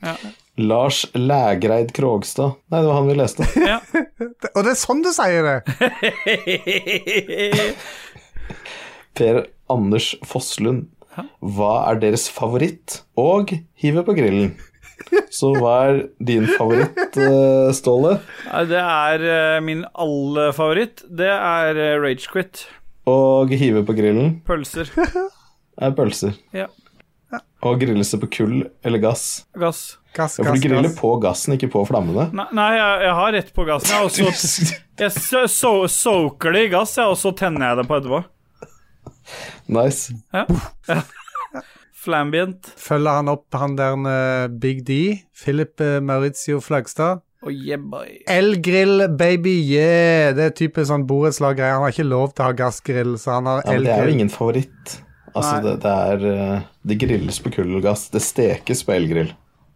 Ja.
Lars Lægreid Krogstad. Nei, det var han vi leste.
Ja.
Og det er sånn du sier det!
Per Anders Fosslund. Hva er deres favoritt? Og hiver på grillen. Så hva er din favoritt, eh, Ståle?
Nei, det er eh, min aller favoritt. Det er eh, Rage Quit.
Og hive på grillen?
Pølser.
er pølser.
Ja.
Og grilles det på kull eller gass?
Gass.
Gass,
Ja, for
gass,
du griller
gass.
på gassen, ikke på flammene.
Nei, nei jeg, jeg har rett på gassen. Jeg, og så- jeg so so soaker det i gass, jeg, og så tenner jeg det på etterpå.
nice.
Flambient.
Følger han opp han der med Big D, Philip eh, Maurizio Flagstad.
Oh, yeah, boy.
Elgrill, baby, yeah! Det er typisk sånn borettslag-greier. Han har ikke lov til å ha gassgrill, så han har
Ja, men det er jo
elgrill.
ingen favoritt. Altså,
Nei.
det, det er eh, Det grilles på kull og gass. Det stekes på elgrill.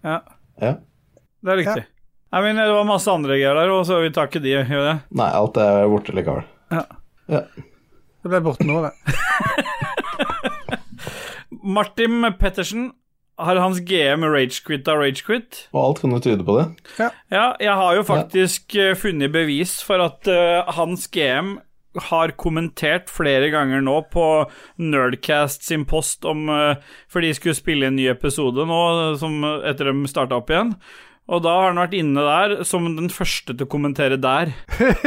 Ja,
Ja.
det er riktig. Jeg mener, det var masse andre greier der, og så vi tar ikke de. Gjør vi det?
Nei, alt er vorte eller kål.
Ja.
Ja.
Det ble borte nå, det.
Martin Pettersen har hans GM ragequitta ragequit.
Og alt kunne tyde på det.
Ja, jeg har jo faktisk eh, funnet bevis for at eh, hans GM har kommentert flere ganger nå på Nerdcast sin post om eh, For de skulle spille en ny episode nå eh, som eh, etter de starta opp igjen. Og da har han vært inne der som den første til å kommentere der. Jeg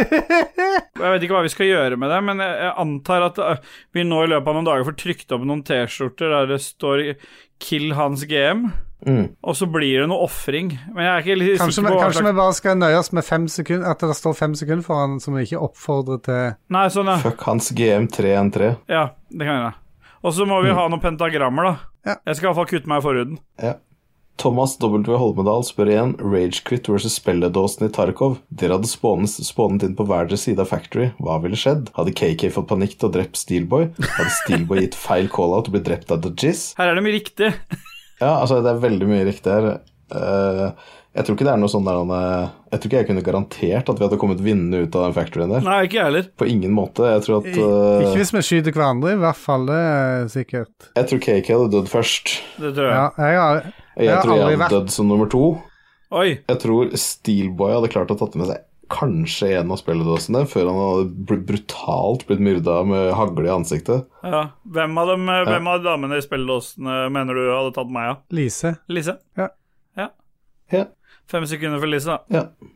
vet ikke hva vi skal gjøre med det, men jeg, jeg antar at eh, vi nå i løpet av noen dager får trykt opp noen T-skjorter der det står 'Kill hans GM',
Mm.
og så blir det noe ofring. Men jeg er ikke litt
Kanskje,
sikker
vi,
på hva
kanskje
slags-
vi bare skal nøye oss med fem sekunder, at det står fem sekunder foran som vi ikke oppfordrer til
Nei, sånn, ja.
Fuck hans GM313.
ja det kan gjøre. Og så må vi ha noen pentagrammer, da.
Mm. Ja.
Jeg skal iallfall kutte meg i forhuden.
Ja. Thomas W. Holmedal spør igjen Ragequit versus spilledåsen i Tarkov. Dere hadde spånet, spånet inn på hver deres side av Factory. Hva ville skjedd? Hadde KK fått panikk og drept Steelboy? Hadde Steelboy gitt feil call-out og blitt drept av The Jizz?
Her er det mye riktig.
Ja, altså, det er veldig mye riktig her. Eh, jeg tror ikke det er noe sånn der han, eh, Jeg tror ikke jeg kunne garantert at vi hadde kommet vinnende ut av den factoryen der.
Nei, ikke jeg heller.
På ingen måte. Jeg tror at eh,
Ikke hvis vi skyter hverandre, i hvert fall. Det er sikkert.
Jeg tror KK hadde dødd først.
Det tror jeg.
Ja, jeg har,
Jeg,
Jeg har
tror jeg
aldri
hadde
vært-
dødd som nummer to.
Oi.
Jeg tror Steelboy hadde klart å tatt med seg kanskje en av spilledåsene før han hadde br brutalt blitt myrda med hagle i ansiktet.
Ja. Hvem av, dem, øh, hvem av damene i spilledåsene mener du hadde tatt meg av?
Lise.
Lise?
Ja.
ja.
Ja.
Fem sekunder for Lise, da.
Ja.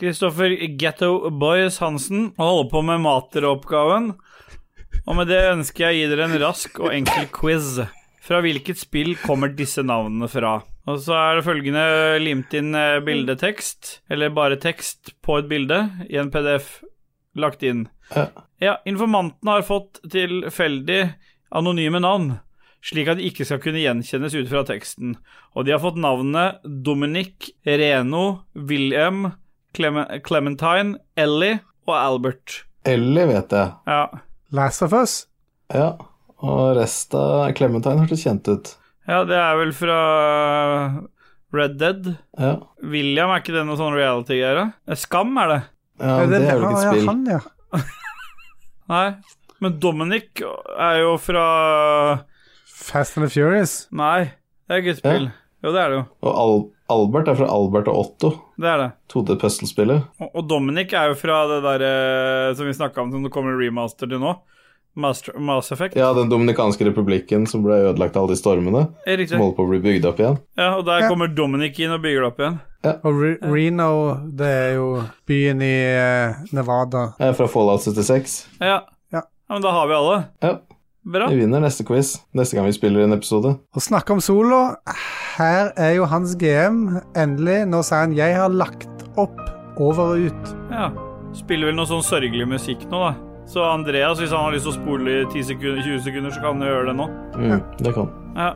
Kristoffer Getto Boys Hansen holder på med materoppgaven. Og med det ønsker jeg å gi dere en rask og enkel quiz. Fra hvilket spill kommer disse navnene fra? Og så er det følgende limt inn eh, bildetekst, eller bare tekst på et bilde, i en PDF lagt inn.
Ja.
Ja, informanten har fått tilfeldig anonyme navn, slik at de ikke skal kunne gjenkjennes ut fra teksten. Og de har fått navnene Dominic, Reno, William, Clem- Clementine, Ellie og Albert.
Ellie vet jeg.
Ja,
Last of Us.
Ja. Og resten av Clementine hørtes kjent ut.
ja det er vel fra Red Dead.
Ja.
William, er ikke det noe sånn reality-greie? da? Skam er det.
ja men det er vel ikke
ja,
et spill.
han, ja.
Nei. Men Dominic er jo fra
Fast and the Furious.
Nei, det er guttespill. Jo, det er det jo.
Og Al Albert er fra Albert og Otto.
Det er det.
2D-puzzlespillet.
Og- Og Dominic er jo fra det derre som vi snakka om, som det kommer remaster til nå. Master, Mass Effect.
Ja, Den dominikanske republikken som ble ødelagt av alle de stormene.
Eh,
Som
Riktig.
holder på å bli bygd opp igjen.
Ja, og der
Ja.
kommer Dominic inn og bygger det opp igjen.
Og Re Reno, det er jo byen i eh, Nevada.
Jeg er fra Fallout 76.
Ja.
Ja.
men da har vi alle.
Ja,
Bra.
vi vinner neste quiz. Neste gang vi spiller en episode.
Å snakke om solo Her er jo hans GM. Endelig. Nå sier han 'jeg har lagt opp over og ut'.
Ja. Spiller vel noe sånn sørgelig musikk nå, da. Så Andreas, hvis han har lyst til å spole i 10 sekunder, 20 sekunder, så kan han gjøre det nå.
Mm, det kan.
Ja.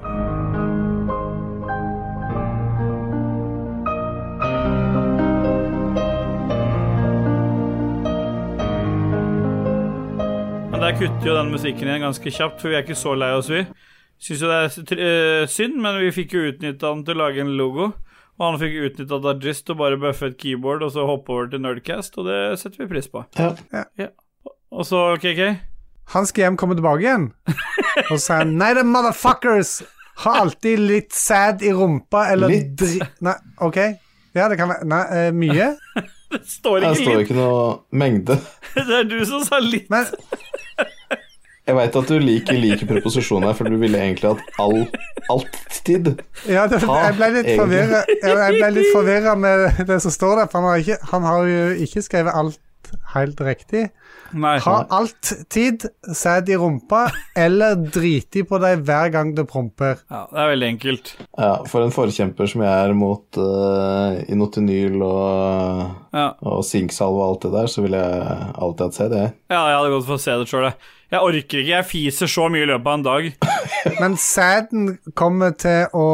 Men der kutter jo den musikken igjen ganske kjapt, for vi er ikke så lei oss, vi. Syns jo det er tr- eh, synd, men vi fikk jo utnytta han til å lage en logo. Og han fikk utnytta Dajis til å bare bøffe et keyboard og så hoppe over til Nerdcast, og det setter vi pris på.
Ja.
Og så KK.
Hans GM kommer tilbake igjen og sier 'nei, the motherfuckers har alltid litt sæd i rumpa', eller
Litt?
dri... Nei, OK. Ja, det kan være Nei, eh, mye.
Det står
Her
ikke
står
litt.
ikke noe mengde.
Det er du som sa litt.
Men
Jeg veit at du liker liker proposisjonen her, for du ville egentlig at all, alltid
ja, det,
Ja,
jeg ble litt
egentlig.
forvirra Jeg jeg ble litt forvirra med det som står der, for han har, ikke, han har jo ikke skrevet alt helt riktig.
Nei.
Har alltid sæd i rumpa, eller driti på deg hver gang det promper.
Ja, det er veldig enkelt.
Ja, for en forkjemper som jeg er mot uh, Inotonyl og,
Ja,
og sinksalve og alt det der, så ville jeg alltid hatt sett det.
ja jeg hadde gått for å se det sjøl, jeg. Jeg orker ikke, jeg fiser så mye i løpet av en dag.
Men sæden kommer til å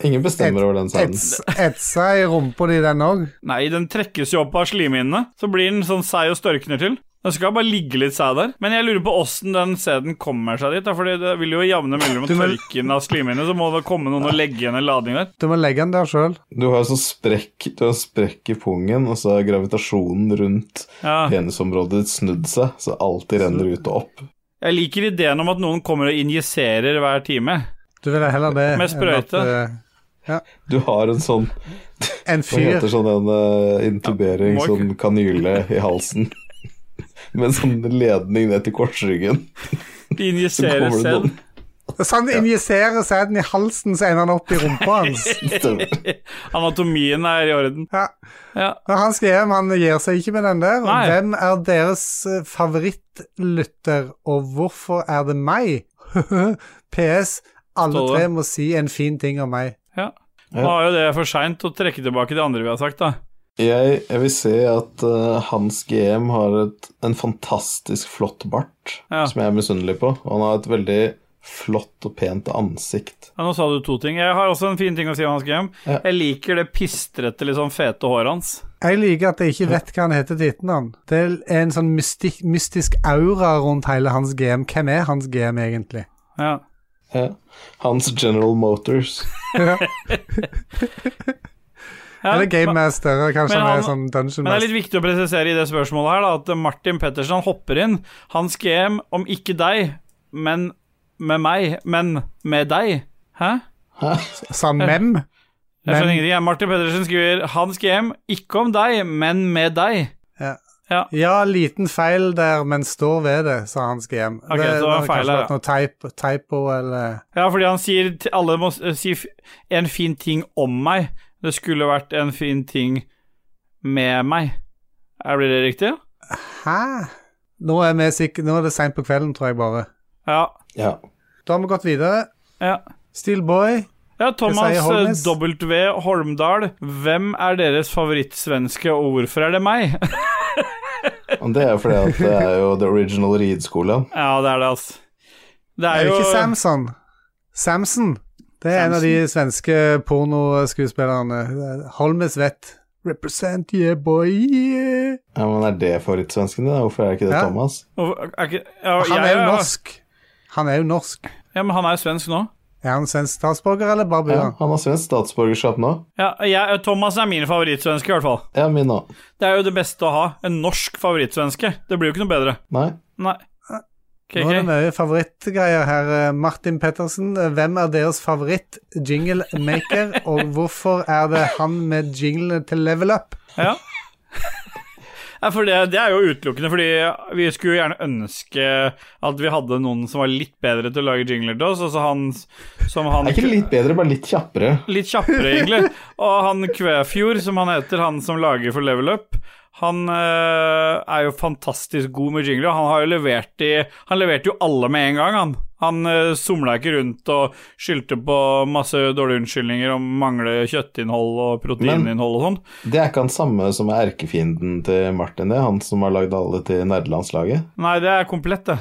eh,
Ingen bestemmer over den sæden.
ets, etse i rumpa di, den òg.
Nei, den trekkes jo opp av slimhinnene. Så blir den sånn seig og størkner til. Den skal bare ligge litt sæd der. Men jeg lurer på åssen den sæden kommer seg dit. da, Fordi det vil jo i jevne mellom
Du må-
tørken av slimhinnene, så må det komme noen og legge igjen en ladning der.
Du må legge den der sjøl.
Du har sånn sprekk, du har en sprekk i pungen, og så har gravitasjonen rundt
Ja.
penisområdet snudd seg, så alt renner ut og opp.
Jeg liker ideen om at noen kommer og injiserer hver time.
Du vil heller det
Med sprøyte.
enn at,
Du har en sånn
eh, en
Hva
fyr.
heter sånn en eh,
Ja,
intubering,
må ikke-
sånn kanyle i halsen? Med en sånn ledning ned til korsryggen.
De injiserer
Så kommer det
sæd.
noen.
Så han injiserer sæden i halsen, så ender han opp i rumpa hans.
Stemmer.
Anatomien er i orden.
Ja.
Ja.
Når han skal hjem, han gir seg ikke med den der.
Nei.
Hvem er deres eh, favorittlytter, og hvorfor er det meg? PS. Alle
Ståle.
tre må si en fin ting om meg.
Ja. Nå er jo det for seint å trekke tilbake de andre vi har sagt, da.
Jeg, jeg vil si at eh, hans GM har et, en fantastisk flott bart,
Ja.
som jeg er misunnelig på. Og han har et veldig flott og pent ansikt.
Ja, nå sa du to ting. Jeg har også en fin ting å si om hans game.
Ja.
Jeg liker det pistrete, litt sånn fete håret hans.
Jeg liker at jeg ikke vet hva han heter til etternavn. Det er en sånn mystik, mystisk aura rundt hele hans GM. Hvem er hans GM, egentlig?
Ja.
Ja. Hans General Motors.
Ja,
Eller Game Master, eller kanskje
men
han er
han-
sånn Dungeon
Men det er
Master.
litt viktig å presisere i det spørsmålet her da, at Martin Pettersen han hopper inn. Hans GM, om ikke deg, men med meg, men med deg. Hæ?
Sa han Sånn mem?
Jeg skjønner
Men-
ingenting. jeg. Martin Pettersen skriver 'Hans GM, ikke om deg, men med deg'.
Ja, liten feil der, men står ved det, sa hans GM.
Ok, så det var en feil
kanskje
der,
vært noe type, typo eller
Ja, fordi han sier til- Alle må s- eh, si f- en fin ting om meg. Det skulle vært en fin ting med meg. Er- Blir det riktig?
Hæ? Nå er, vi sikk- Nå er det seint på kvelden, tror jeg bare.
Ja.
Ja.
Da har vi gått videre.
ja.
Steelboy.
Ja, Thomas
sier Holmes?
eh, W. Holmdal, hvem er deres favorittsvenske, og hvorfor er det meg?
Og det er jo fordi at det er jo the original ridskole.
Ja, det er det, altså. Det er,
Er det
jo
ikke Samson? Samson. Det er en av de svenske pornoskuespillerne. Holmes vet. Represent yeah, boy. Yeah.
Ja, men er det favorittsvensken din? da? Hvorfor er det ikke det
Ja.
Thomas?
Hvorfor- er ikke ja,
Han
jeg-
er jo norsk. Han er jo norsk.
Ja, men han er jo svensk nå.
Er han svensk statsborger eller bare
Ja,
bor han?
han har svensk statsborgerskap nå.
Ja, jeg, Thomas er min favorittsvenske, i hvert fall.
Ja, min òg.
Det er jo det beste å ha. En norsk favorittsvenske. Det blir jo ikke noe bedre.
Nei.
Nei.
Nå er det
KK.
mye favorittgreier her. Martin Pettersen, hvem er deres favoritt-jinglemaker, og hvorfor er det han med jinglene til Level Up?
Ja. Nei, for det, det er jo utelukkende, fordi vi skulle jo gjerne ønske at vi hadde noen som var litt bedre til å lage jingler til oss, og så han som han
Er ikke det litt bedre, bare litt kjappere?
litt kjappere, egentlig. Og han Kvæfjord, som han heter, han som lager for Level Up, han eh, er jo fantastisk god med jingler. Han har jo levert i Han leverte jo alle med en gang, han. Han uh, somla ikke rundt og skyldte på masse dårlige unnskyldninger om mangle kjøttinnhold og proteininnhold og sånn.
Det er ikke han samme som er erkefienden til Martin, det. Han som har lagd alle til nerdelandslaget.
Nei, det er komplett, det.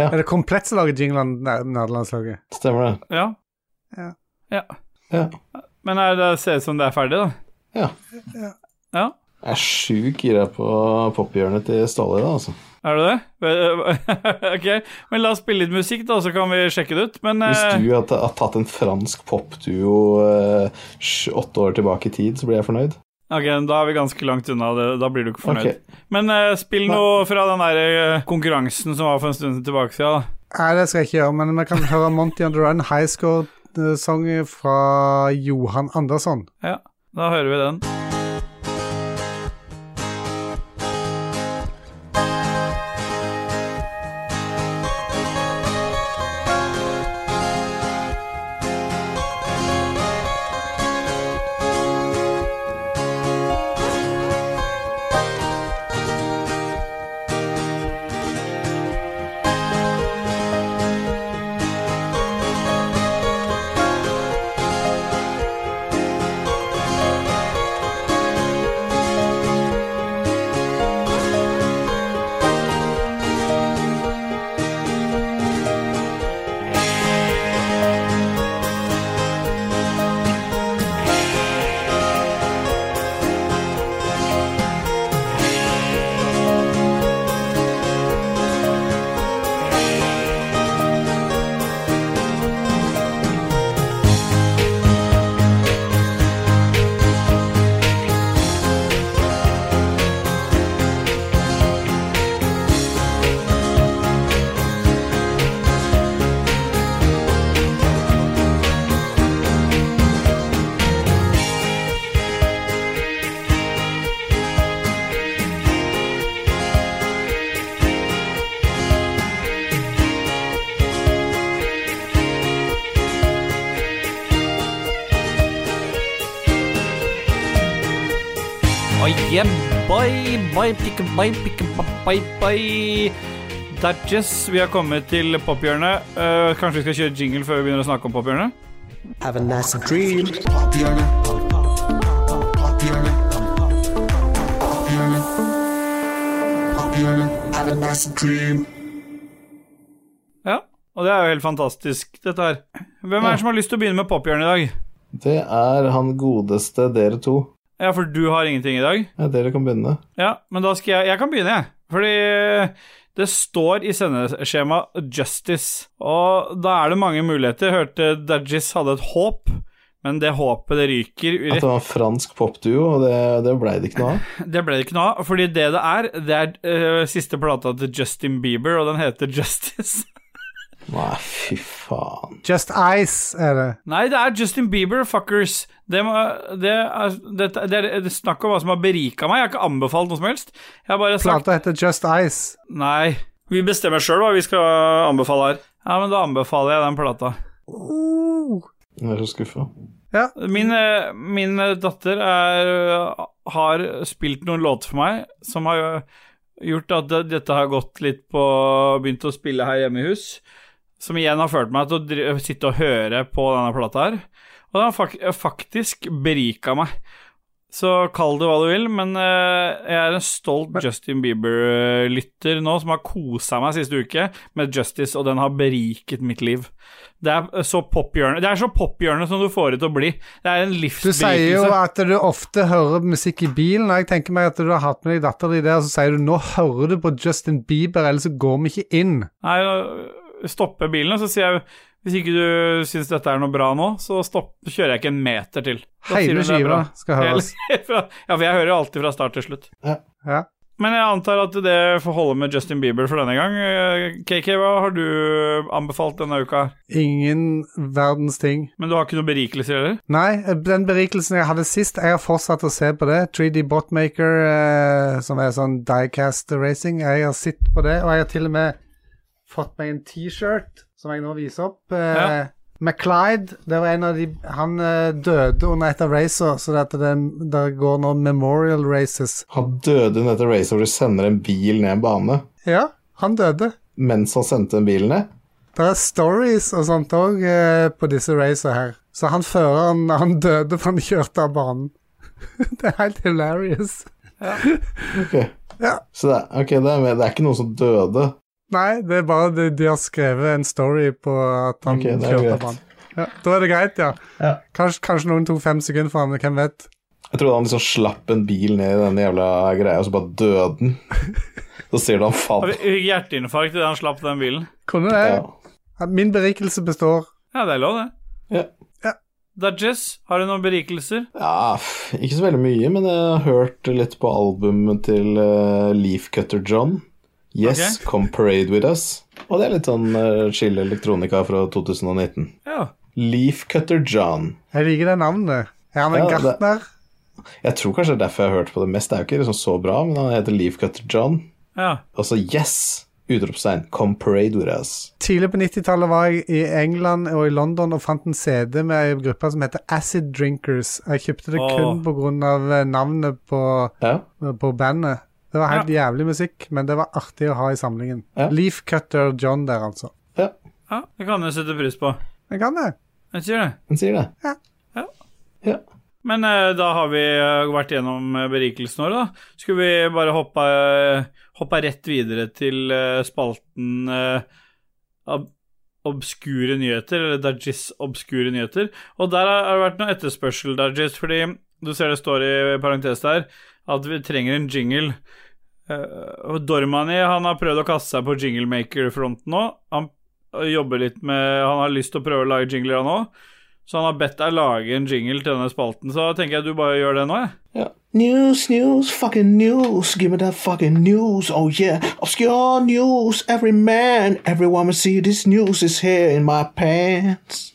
Er det komplett som lager jinglene til nederlandslaget?
Stemmer det?
Ja.
Ja.
Ja.
Ja.
Men er det ser ut som det er ferdig, da.
ja.
Ja.
Jeg er sjukt gira på pophjørnet til Ståle i dag, altså.
Er du det? Ve- ok, men la oss spille litt musikk, da, så kan vi sjekke det ut. Men
Hvis
eh,
du hadde hadde tatt en fransk popduo eh, sj- åtte år tilbake i tid, så blir jeg fornøyd.
Ok, da er vi ganske langt unna det. Da blir du ikke fornøyd.
Ok.
Men eh, spill noe fra den der eh, konkurransen som var for en stund tilbake siden, da.
Nei, det skal jeg ikke gjøre, men vi kan høre Monty on the Run High Score-sang fra Johan Andersson.
Ja, da hører vi den.
High
Oh yeah, boy, boy, pick, boy, pick, boy, boy. Dutchess, vi har kommet til pophjørnet. Eh, kanskje vi skal kjøre jingle før vi begynner å snakke om pophjørnet?
Have a nice dream. Have a nice dream.
Ja. Og det er jo helt fantastisk, dette her. Hvem er det som har lyst til å begynne med pophjørnet i dag?
Det er han godeste dere to.
Ja, for du har ingenting i dag?
Ja, dere kan begynne.
Ja, men da skal jeg Jeg kan begynne, jeg. Fordi det står i sendeskjema 'Justice', og da er det mange muligheter. Jeg hørte Dajis hadde et håp, men det håpet det ryker
At det var en fransk popduo, og det, det blei det ikke noe av.
Det ble det ikke noe av, fordi det det er, det er øh, siste plata til Justin Bieber, og den heter Justice.
Nei, fy faen.
Just Ice er det.
Nei, det er Justin Bieber, fuckers. Det, må, det, er, det, det er det er snakk om hva som har berika meg. Jeg har ikke anbefalt noe som helst. Jeg har bare sagt
Plata heter Just Ice.
Nei. Vi bestemmer sjøl hva vi skal anbefale her. Ja, men da anbefaler jeg den plata.
Jeg er så skuffa.
Min, eh, min datter er, har spilt noen låter for meg som har gjort at det- dette har gått litt på Begynt å spille her hjemme i hus. Som igjen har ført meg til å dri- sitte og høre på denne plata her. Og den har fak faktisk berika meg. Så kall det hva du vil, men eh, jeg er en stolt Justin Bieber-lytter nå, som har kosa meg siste uke med Justice, og den har beriket mitt liv. Det er så pophjørne Det er så pophjørne som du får det til å bli. Det er en
Du sier jo
livsberikelse.
at du ofte hører musikk i bilen, og jeg tenker meg at du har hatt med deg datter di der, og så sier du 'nå hører du på Justin Bieber, ellers så går vi ikke inn'.
Nei, nå stopper bilen, og så sier jeg hvis ikke du syns dette er noe bra nå, så stopp, kjører jeg ikke en meter til. Da sier
Hele
hun det er bra.
skiva skal høres.
Hele- fra- Ja, for jeg hører jo alltid fra start til slutt.
Ja.
Ja.
Men jeg antar at det får holde med Justin Bieber for denne gang. Eh, KK, hva har du anbefalt denne uka?
Ingen verdens ting.
Men du har ikke noen berikelser heller?
Nei, den berikelsen jeg hadde sist, jeg har fortsatt å se på det. 3D Botmaker, eh, som er sånn diecast racing, jeg har sett på det, og jeg har til og med fått meg en T-shirt, som jeg nå viser opp. Eh,
Ja.
McClyde, det var en av de Han eh, døde under et av racene, så det, det, det går nå memorial races.
Han døde under dette racet hvor du sender en bil ned en bane
Ja, han døde.
mens han sendte den bilen ned.
Det er stories og sånt òg eh, på disse racene her. Så han føreren, han døde for han kjørte av banen. det er helt hilarious.
Ok.
Ja.
Så det er, ok, det er, med, det er ikke noen som døde.
Nei, det er bare de, de har skrevet en story på at han
Ok, det er
kjørte
greit.
av banen. Ja, da er det greit, ja.
Ja.
Kanskje, kanskje noen tok fem sekunder for ham, hvem vet.
Jeg trodde han liksom slapp en bil ned i denne jævla greia, og så bare døde den. Så ser du han
Har
faller.
vi hjerteinfarkt idet han slapp den bilen?
Kunne det.
Ja.
Min berikelse består.
Ja, det er lov, det.
Ja.
Ja.
Dudges, har du noen berikelser?
Ja, f- ikke så veldig mye, men jeg har hørt litt på albumet til eh, Leafcutter John. Yes,
Ok.
Come Parade With Us. Og det er litt sånn eh, chill elektronika fra 2019.
Ja.
Leafcutter John.
Jeg liker det navnet. Er han en
Ja, det-
gartner?
Jeg tror kanskje det er derfor jeg har hørt på det mest. Det er jo ikke liksom så bra, men han heter Leafcutter John.
ja.
Og så yes! Utropstegn. Come Parade With Us.
Tidlig på 90-tallet var jeg i England og i London og fant en CD med ei gruppe som heter Acid Drinkers. Jeg kjøpte det
Åh.
kun på grunn av eh, navnet på,
Ja.
på bandet. Det var helt jævlig musikk, men det var artig å ha i samlingen.
Ja.
Leaf Cutter John der, altså.
ja.
ja. Det kan du sette pris på.
Jeg kan det.
Jeg sier det.
Den sier det.
Ja.
Ja.
Ja.
Men eh, da har vi eh, vært gjennom eh, berikelsen vår, da. Skulle vi bare hoppe, eh, hoppe rett videre til eh, spalten eh, ob Obskure nyheter, eller Dajis obskure nyheter. Og der har det vært noe etterspørsel, Dajis, fordi du ser det står i parentes der at vi trenger en jingle. Eh, og Dormani han har prøvd å kaste seg på jinglemaker-fronten nå. Han eh, jobber litt med Han har lyst til å prøve å lage jingler, han òg. Så han har bedt deg lage en jingle til denne spalten, så da tenker jeg du bare gjør det nå, jeg.
News, news, fucking news. Give me that fucking news. Oh yeah, obscure news. Every man, every woman see this news is here in my pants.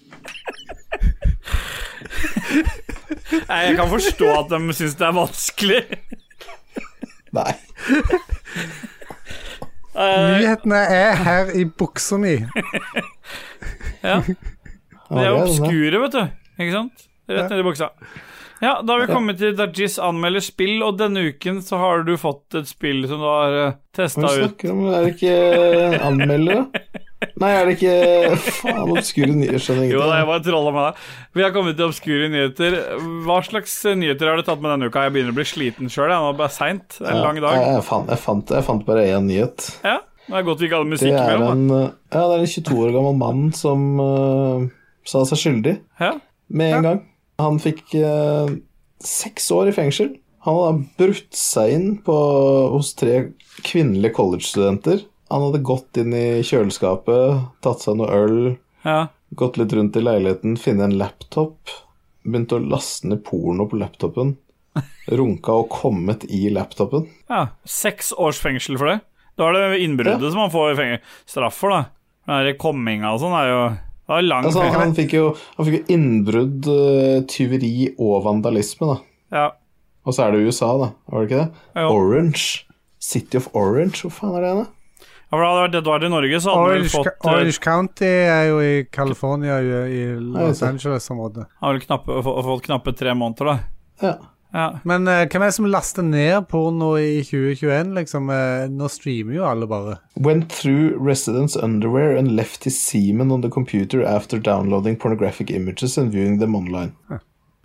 Nei, jeg kan forstå at de syns det er vanskelig.
Nei.
Nyhetene er her i buksa mi.
Ja, Det er
Ja, det er det.
obskure, vet du. Ikke sant? Rett ned i buksa. Ja, da har vi kommet til Dajis anmelder spill, og denne uken så har du fått et spill som du har testa
Hva er det vi
ut.
snakker om? Er det ikke anmeldere? Nei, er det ikke Faen, obskure nyheter. Skjønner
Jo da, jeg
ingenting.
bare trolla med deg. Vi har kommet til obskure nyheter. Hva slags eh, nyheter har du tatt med denne uka? Jeg begynner å bli sliten sjøl, nå er det bare seint. Det er en lang
Jeg,
dag.
jeg, fant, jeg, fant, jeg fant bare én nyhet.
Ja, det er godt vi ikke hadde
Det
musikk
er,
med.
en, eh, ja, det er en 22 år gammel mann som eh, sa seg skyldig
Da. Ja.
med en gang. Han fikk eh, seks år i fengsel. Han hadde brutt seg inn på, hos tre kvinnelige college-studenter. Han hadde gått inn i kjøleskapet, tatt seg noe øl,
Ja.
gått litt rundt i leiligheten, finne en laptop, begynt å laste ned porno på laptopen, runka og kommet i laptopen.
ja. Seks års fengsel for det. Da er det innbruddet som han får i fenge- straff for, da. Den der komminga og sånn er jo Det er lang
Altså, han, han fikk jo han fikk jo innbrudd, eh, tyveri og vandalisme, da.
Ja.
Og så er det USA, da. Var det ikke det?
Jo.
Orange. City of Orange, hvor faen er det, da?
Ja, for da hadde det vært Edvard i Norge, så hadde han vel
Orange,
fått eh,
Orange County er jo i California, i, i Los
Ja,
Angeles-området.
han hadde vel knappe, få- fått knappe tre måneder, da.
Ja.
Ja.
Men eh, hvem er det som laster ned porno i 2021, liksom? Eh, nå streamer jo alle bare.
Went through residents' underwear and left his semen on the computer after downloading pornographic images and viewing them online.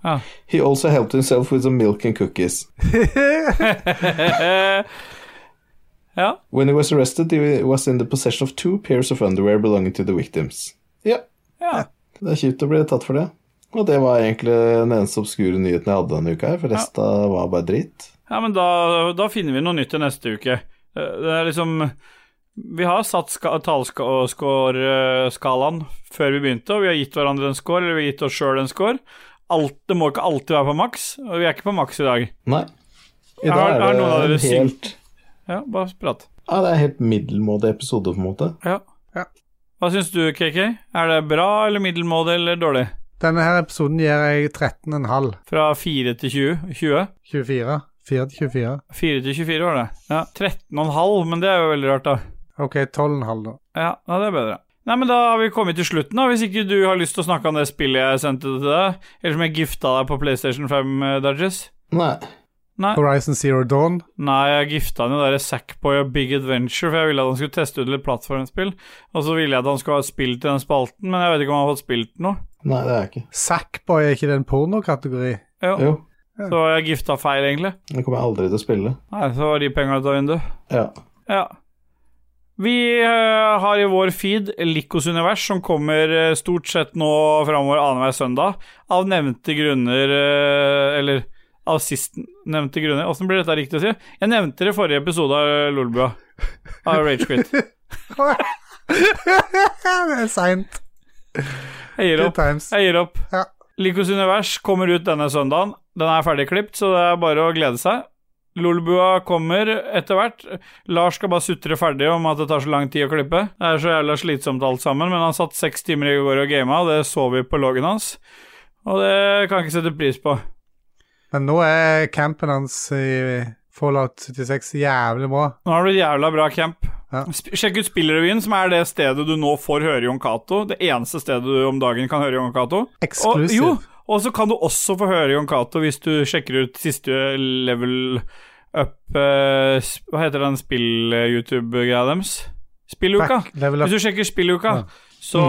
Ja.
He also helped himself with some milk and cookies.
ja.
When he was arrested, he was in the possession of two pairs of underwear belonging to the victims. Ja,
ja.
det er kjipt å bli tatt for det. Og det var egentlig den eneste obskure nyheten jeg hadde denne uka, her, for resten var bare dritt.
Ja, men da, da finner vi noe nytt til neste uke. Eh, Det er liksom Vi har satt tallskårskalaen før vi begynte, og vi har gitt hverandre en score, eller vi har gitt oss sjøl en score. Alt, det må ikke alltid være på maks, og vi er ikke på maks i dag.
Nei. I
Har- har noen av dere
en helt,
Ja, bare prat.
ja, det er en helt middelmådig episode, på en måte.
Ja.
Ja.
Hva syns du, KK? Er det bra eller middelmådig eller dårlig?
Denne her episoden gir jeg 13,5.
Fra 4 til 20? 20?
24. 4 til 24.
4 til 24 var det. Ja, 13,5, men det er jo veldig rart, da.
OK, 12,5 da.
Ja, ja, det er bedre. Nei, men Da har vi kommet til slutten, da, hvis ikke du har lyst til å snakke om det spillet jeg sendte til deg, eller som jeg gifta deg på PlayStation 5, eh, Dodges.
Nei.
Nei.
Horizon Zero Dawn.
Nei, jeg gifta han jo der Sackboy og Big Adventure, for jeg ville at han skulle teste ut litt plattformspill, og så ville jeg at han skulle ha et spill til den spalten, men jeg vet ikke om han har fått spilt noe.
Nei, det er jeg ikke.
Sackboy er ikke det en pornokategori?
Jo,
Jo,
så jeg gifta feil, egentlig.
det kommer jeg aldri til å spille.
Nei, så var de penga ut av vinduet.
Ja.
Ja. Vi eh, har i vår feed Likos univers, som kommer eh, stort sett nå framover annenhver søndag. Av nevnte grunner eh, Eller av sistnevnte grunner. Åssen blir dette riktig å si? Jeg nevnte det i forrige episode av Lolbua. Av Ragequit.
det er seint.
Jeg gir
Good
opp.
times.
Jeg gir opp.
Ja.
Likos univers kommer ut denne søndagen. Den er ferdigklipt, så det er bare å glede seg. Lolbua kommer etter hvert. Lars skal bare sutre ferdig om at det tar så lang tid å klippe. Det er så jævla slitsomt alt sammen, men han satt seks timer i går og gama, og det så vi på loggen hans. Og det kan jeg ikke sette pris på.
Men nå er campen hans i Fallout 76 jævlig bra.
Nå har det blitt jævla bra camp.
Ja.
Sp sjekk ut Spillrevyen, som er det stedet du nå får høre Jon Cato. Det eneste stedet du om dagen kan høre Jon Cato. Og, jo,
Exclusive.
og så kan du også få høre Jon Cato hvis du sjekker ut siste level up eh, sp- Hva heter den spill-YouTube-greia deres? Spilluka.
Back level up.
Hvis du sjekker Spilluka, så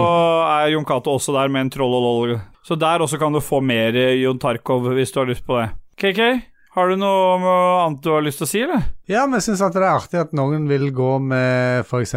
er Jon Cato også der med en troll og lol. Så der også kan du få mer eh, Jon Tarkov hvis du har lyst på det. KK, har du noe om, eh, annet du har lyst til å si, eller?
Ja, men jeg syns at det er artig at noen vil gå med f.eks.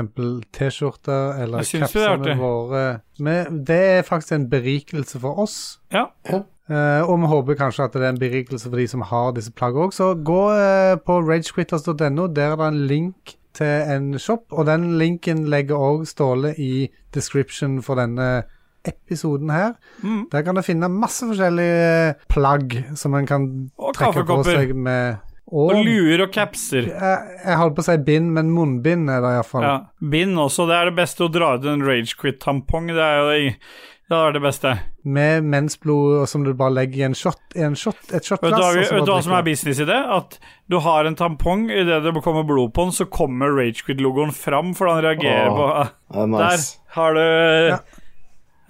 T-skjorter eller
Jeg synes jo det er
kapsene
artig.
våre. Men det er faktisk en berikelse for oss.
Ja.
Eh, og vi håper kanskje at det er en berikelse for de som har disse plaggene òg. Så gå eh, på ragequitters.no. Der er det en link til en shop, og den linken legger òg Ståle i description for denne episoden her.
Mm.
Der kan du finne masse forskjellige eh, plagg som en kan
Og
trekke på
kaffekopper.
seg med
Og luer og capser.
jeg, jeg holdt på å si bind, men munnbind er det iallfall.
Ja. Bind også. Det er det beste å dra ut en ragequit-tampong. Det er jo det, det, er det beste.
Med mensblod og som du bare legger i en shot, i en shot et
Vet du, hva
shotglass.
vi-
og så
vet du
bare
hva som er
drikker
business i det? At du har en tampong, idet det kommer blod på den, så kommer ragequit-logoen fram, for han reagerer
Åh,
på
Det er
Der
nice.
har du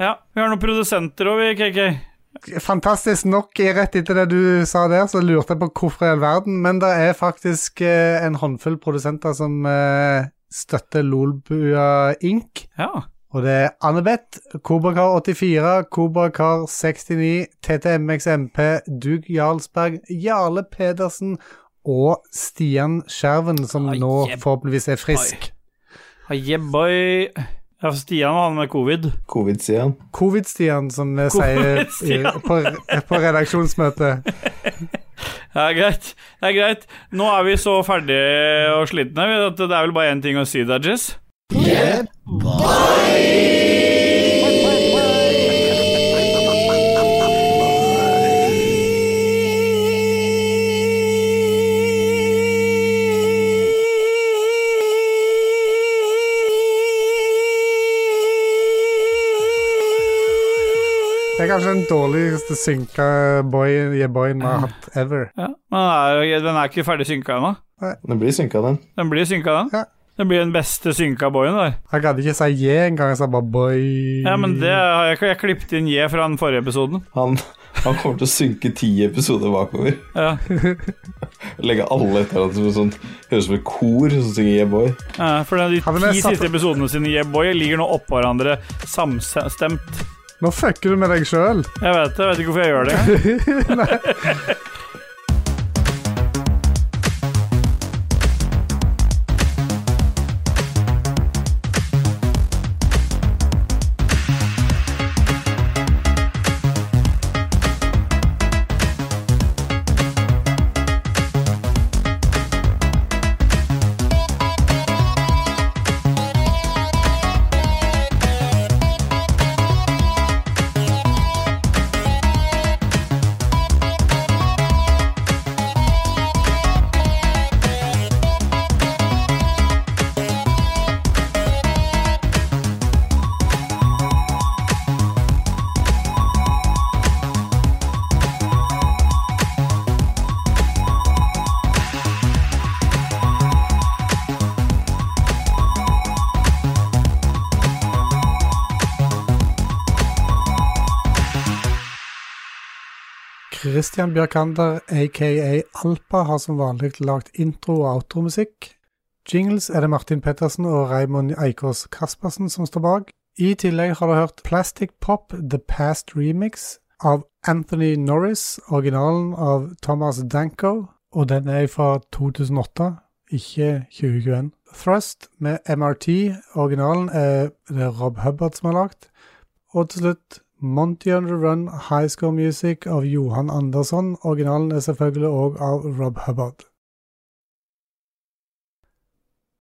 ja. vi har noen produsenter òg, vi, KK.
fantastisk nok rett etter det du sa der, så lurte jeg på hvorfor i all verden, men det er faktisk eh, en håndfull produsenter som eh, støtter Lolbua Inc.
Ja.
Og det er Annebeth, Kobrakar84, Kobrakar69, TTMXMP, Dug Jarlsberg, Jarle Pedersen og Stian Skjerven, som
Ah,
nå
jeb-
forhåpentligvis er frisk.
Hei, yeah, boy. Ja, for Stian var han med covid.
Covid-siden.
Covid-Stian, som vi sier i-
Covid-Stian.
på, på redaksjonsmøtet.
Det er greit. Det er greit. Nå er vi så ferdige og slitne vi, at det er vel bare én ting å si, Dudges.
Det er kanskje den dårligste synka boy- yeah, boyen vi har hatt ever.
Ja. Men den er, jo- den er ikke ferdig synka ennå.
Den blir synka, den.
Den blir synka, den.
Ja.
Den blir den beste synka boyen der.
Jeg gadd ikke si yeah engang, jeg sa bare boy.
Ja, men det har jeg, jeg klippet inn J fra den forrige episoden.
Han, han kommer til å synke ti episoder bakover.
Ja.
Legge alle etter hverandre som et sånt Høres ut som et kor som synger Yeah Boy.
Ja, For de
Hadde vi
ti
satt-
siste episodene sine i Yeah Boy ligger nå oppå hverandre samstemt.
Nå fucker du med deg sjøl.
Jeg vet det, jeg vet ikke hvorfor jeg gjør det.
Christian Bjørkander, aka Alpa, har som vanlig lagd intro- og outromusikk. Jingles er det Martin Pettersen og Raymond Eikås Kaspersen som står bak. I tillegg har du hørt Plastic Pop The Past Remix av Anthony Norris, originalen av Thomas Danko, og den er fra 2008, ikke 2021. Thrust med MRT, originalen er det Rob Hubbard som har lagd. Og til slutt Monty on the Run High Score Music av Johan Andersson. Originalen er selvfølgelig òg av Rob Hubbard.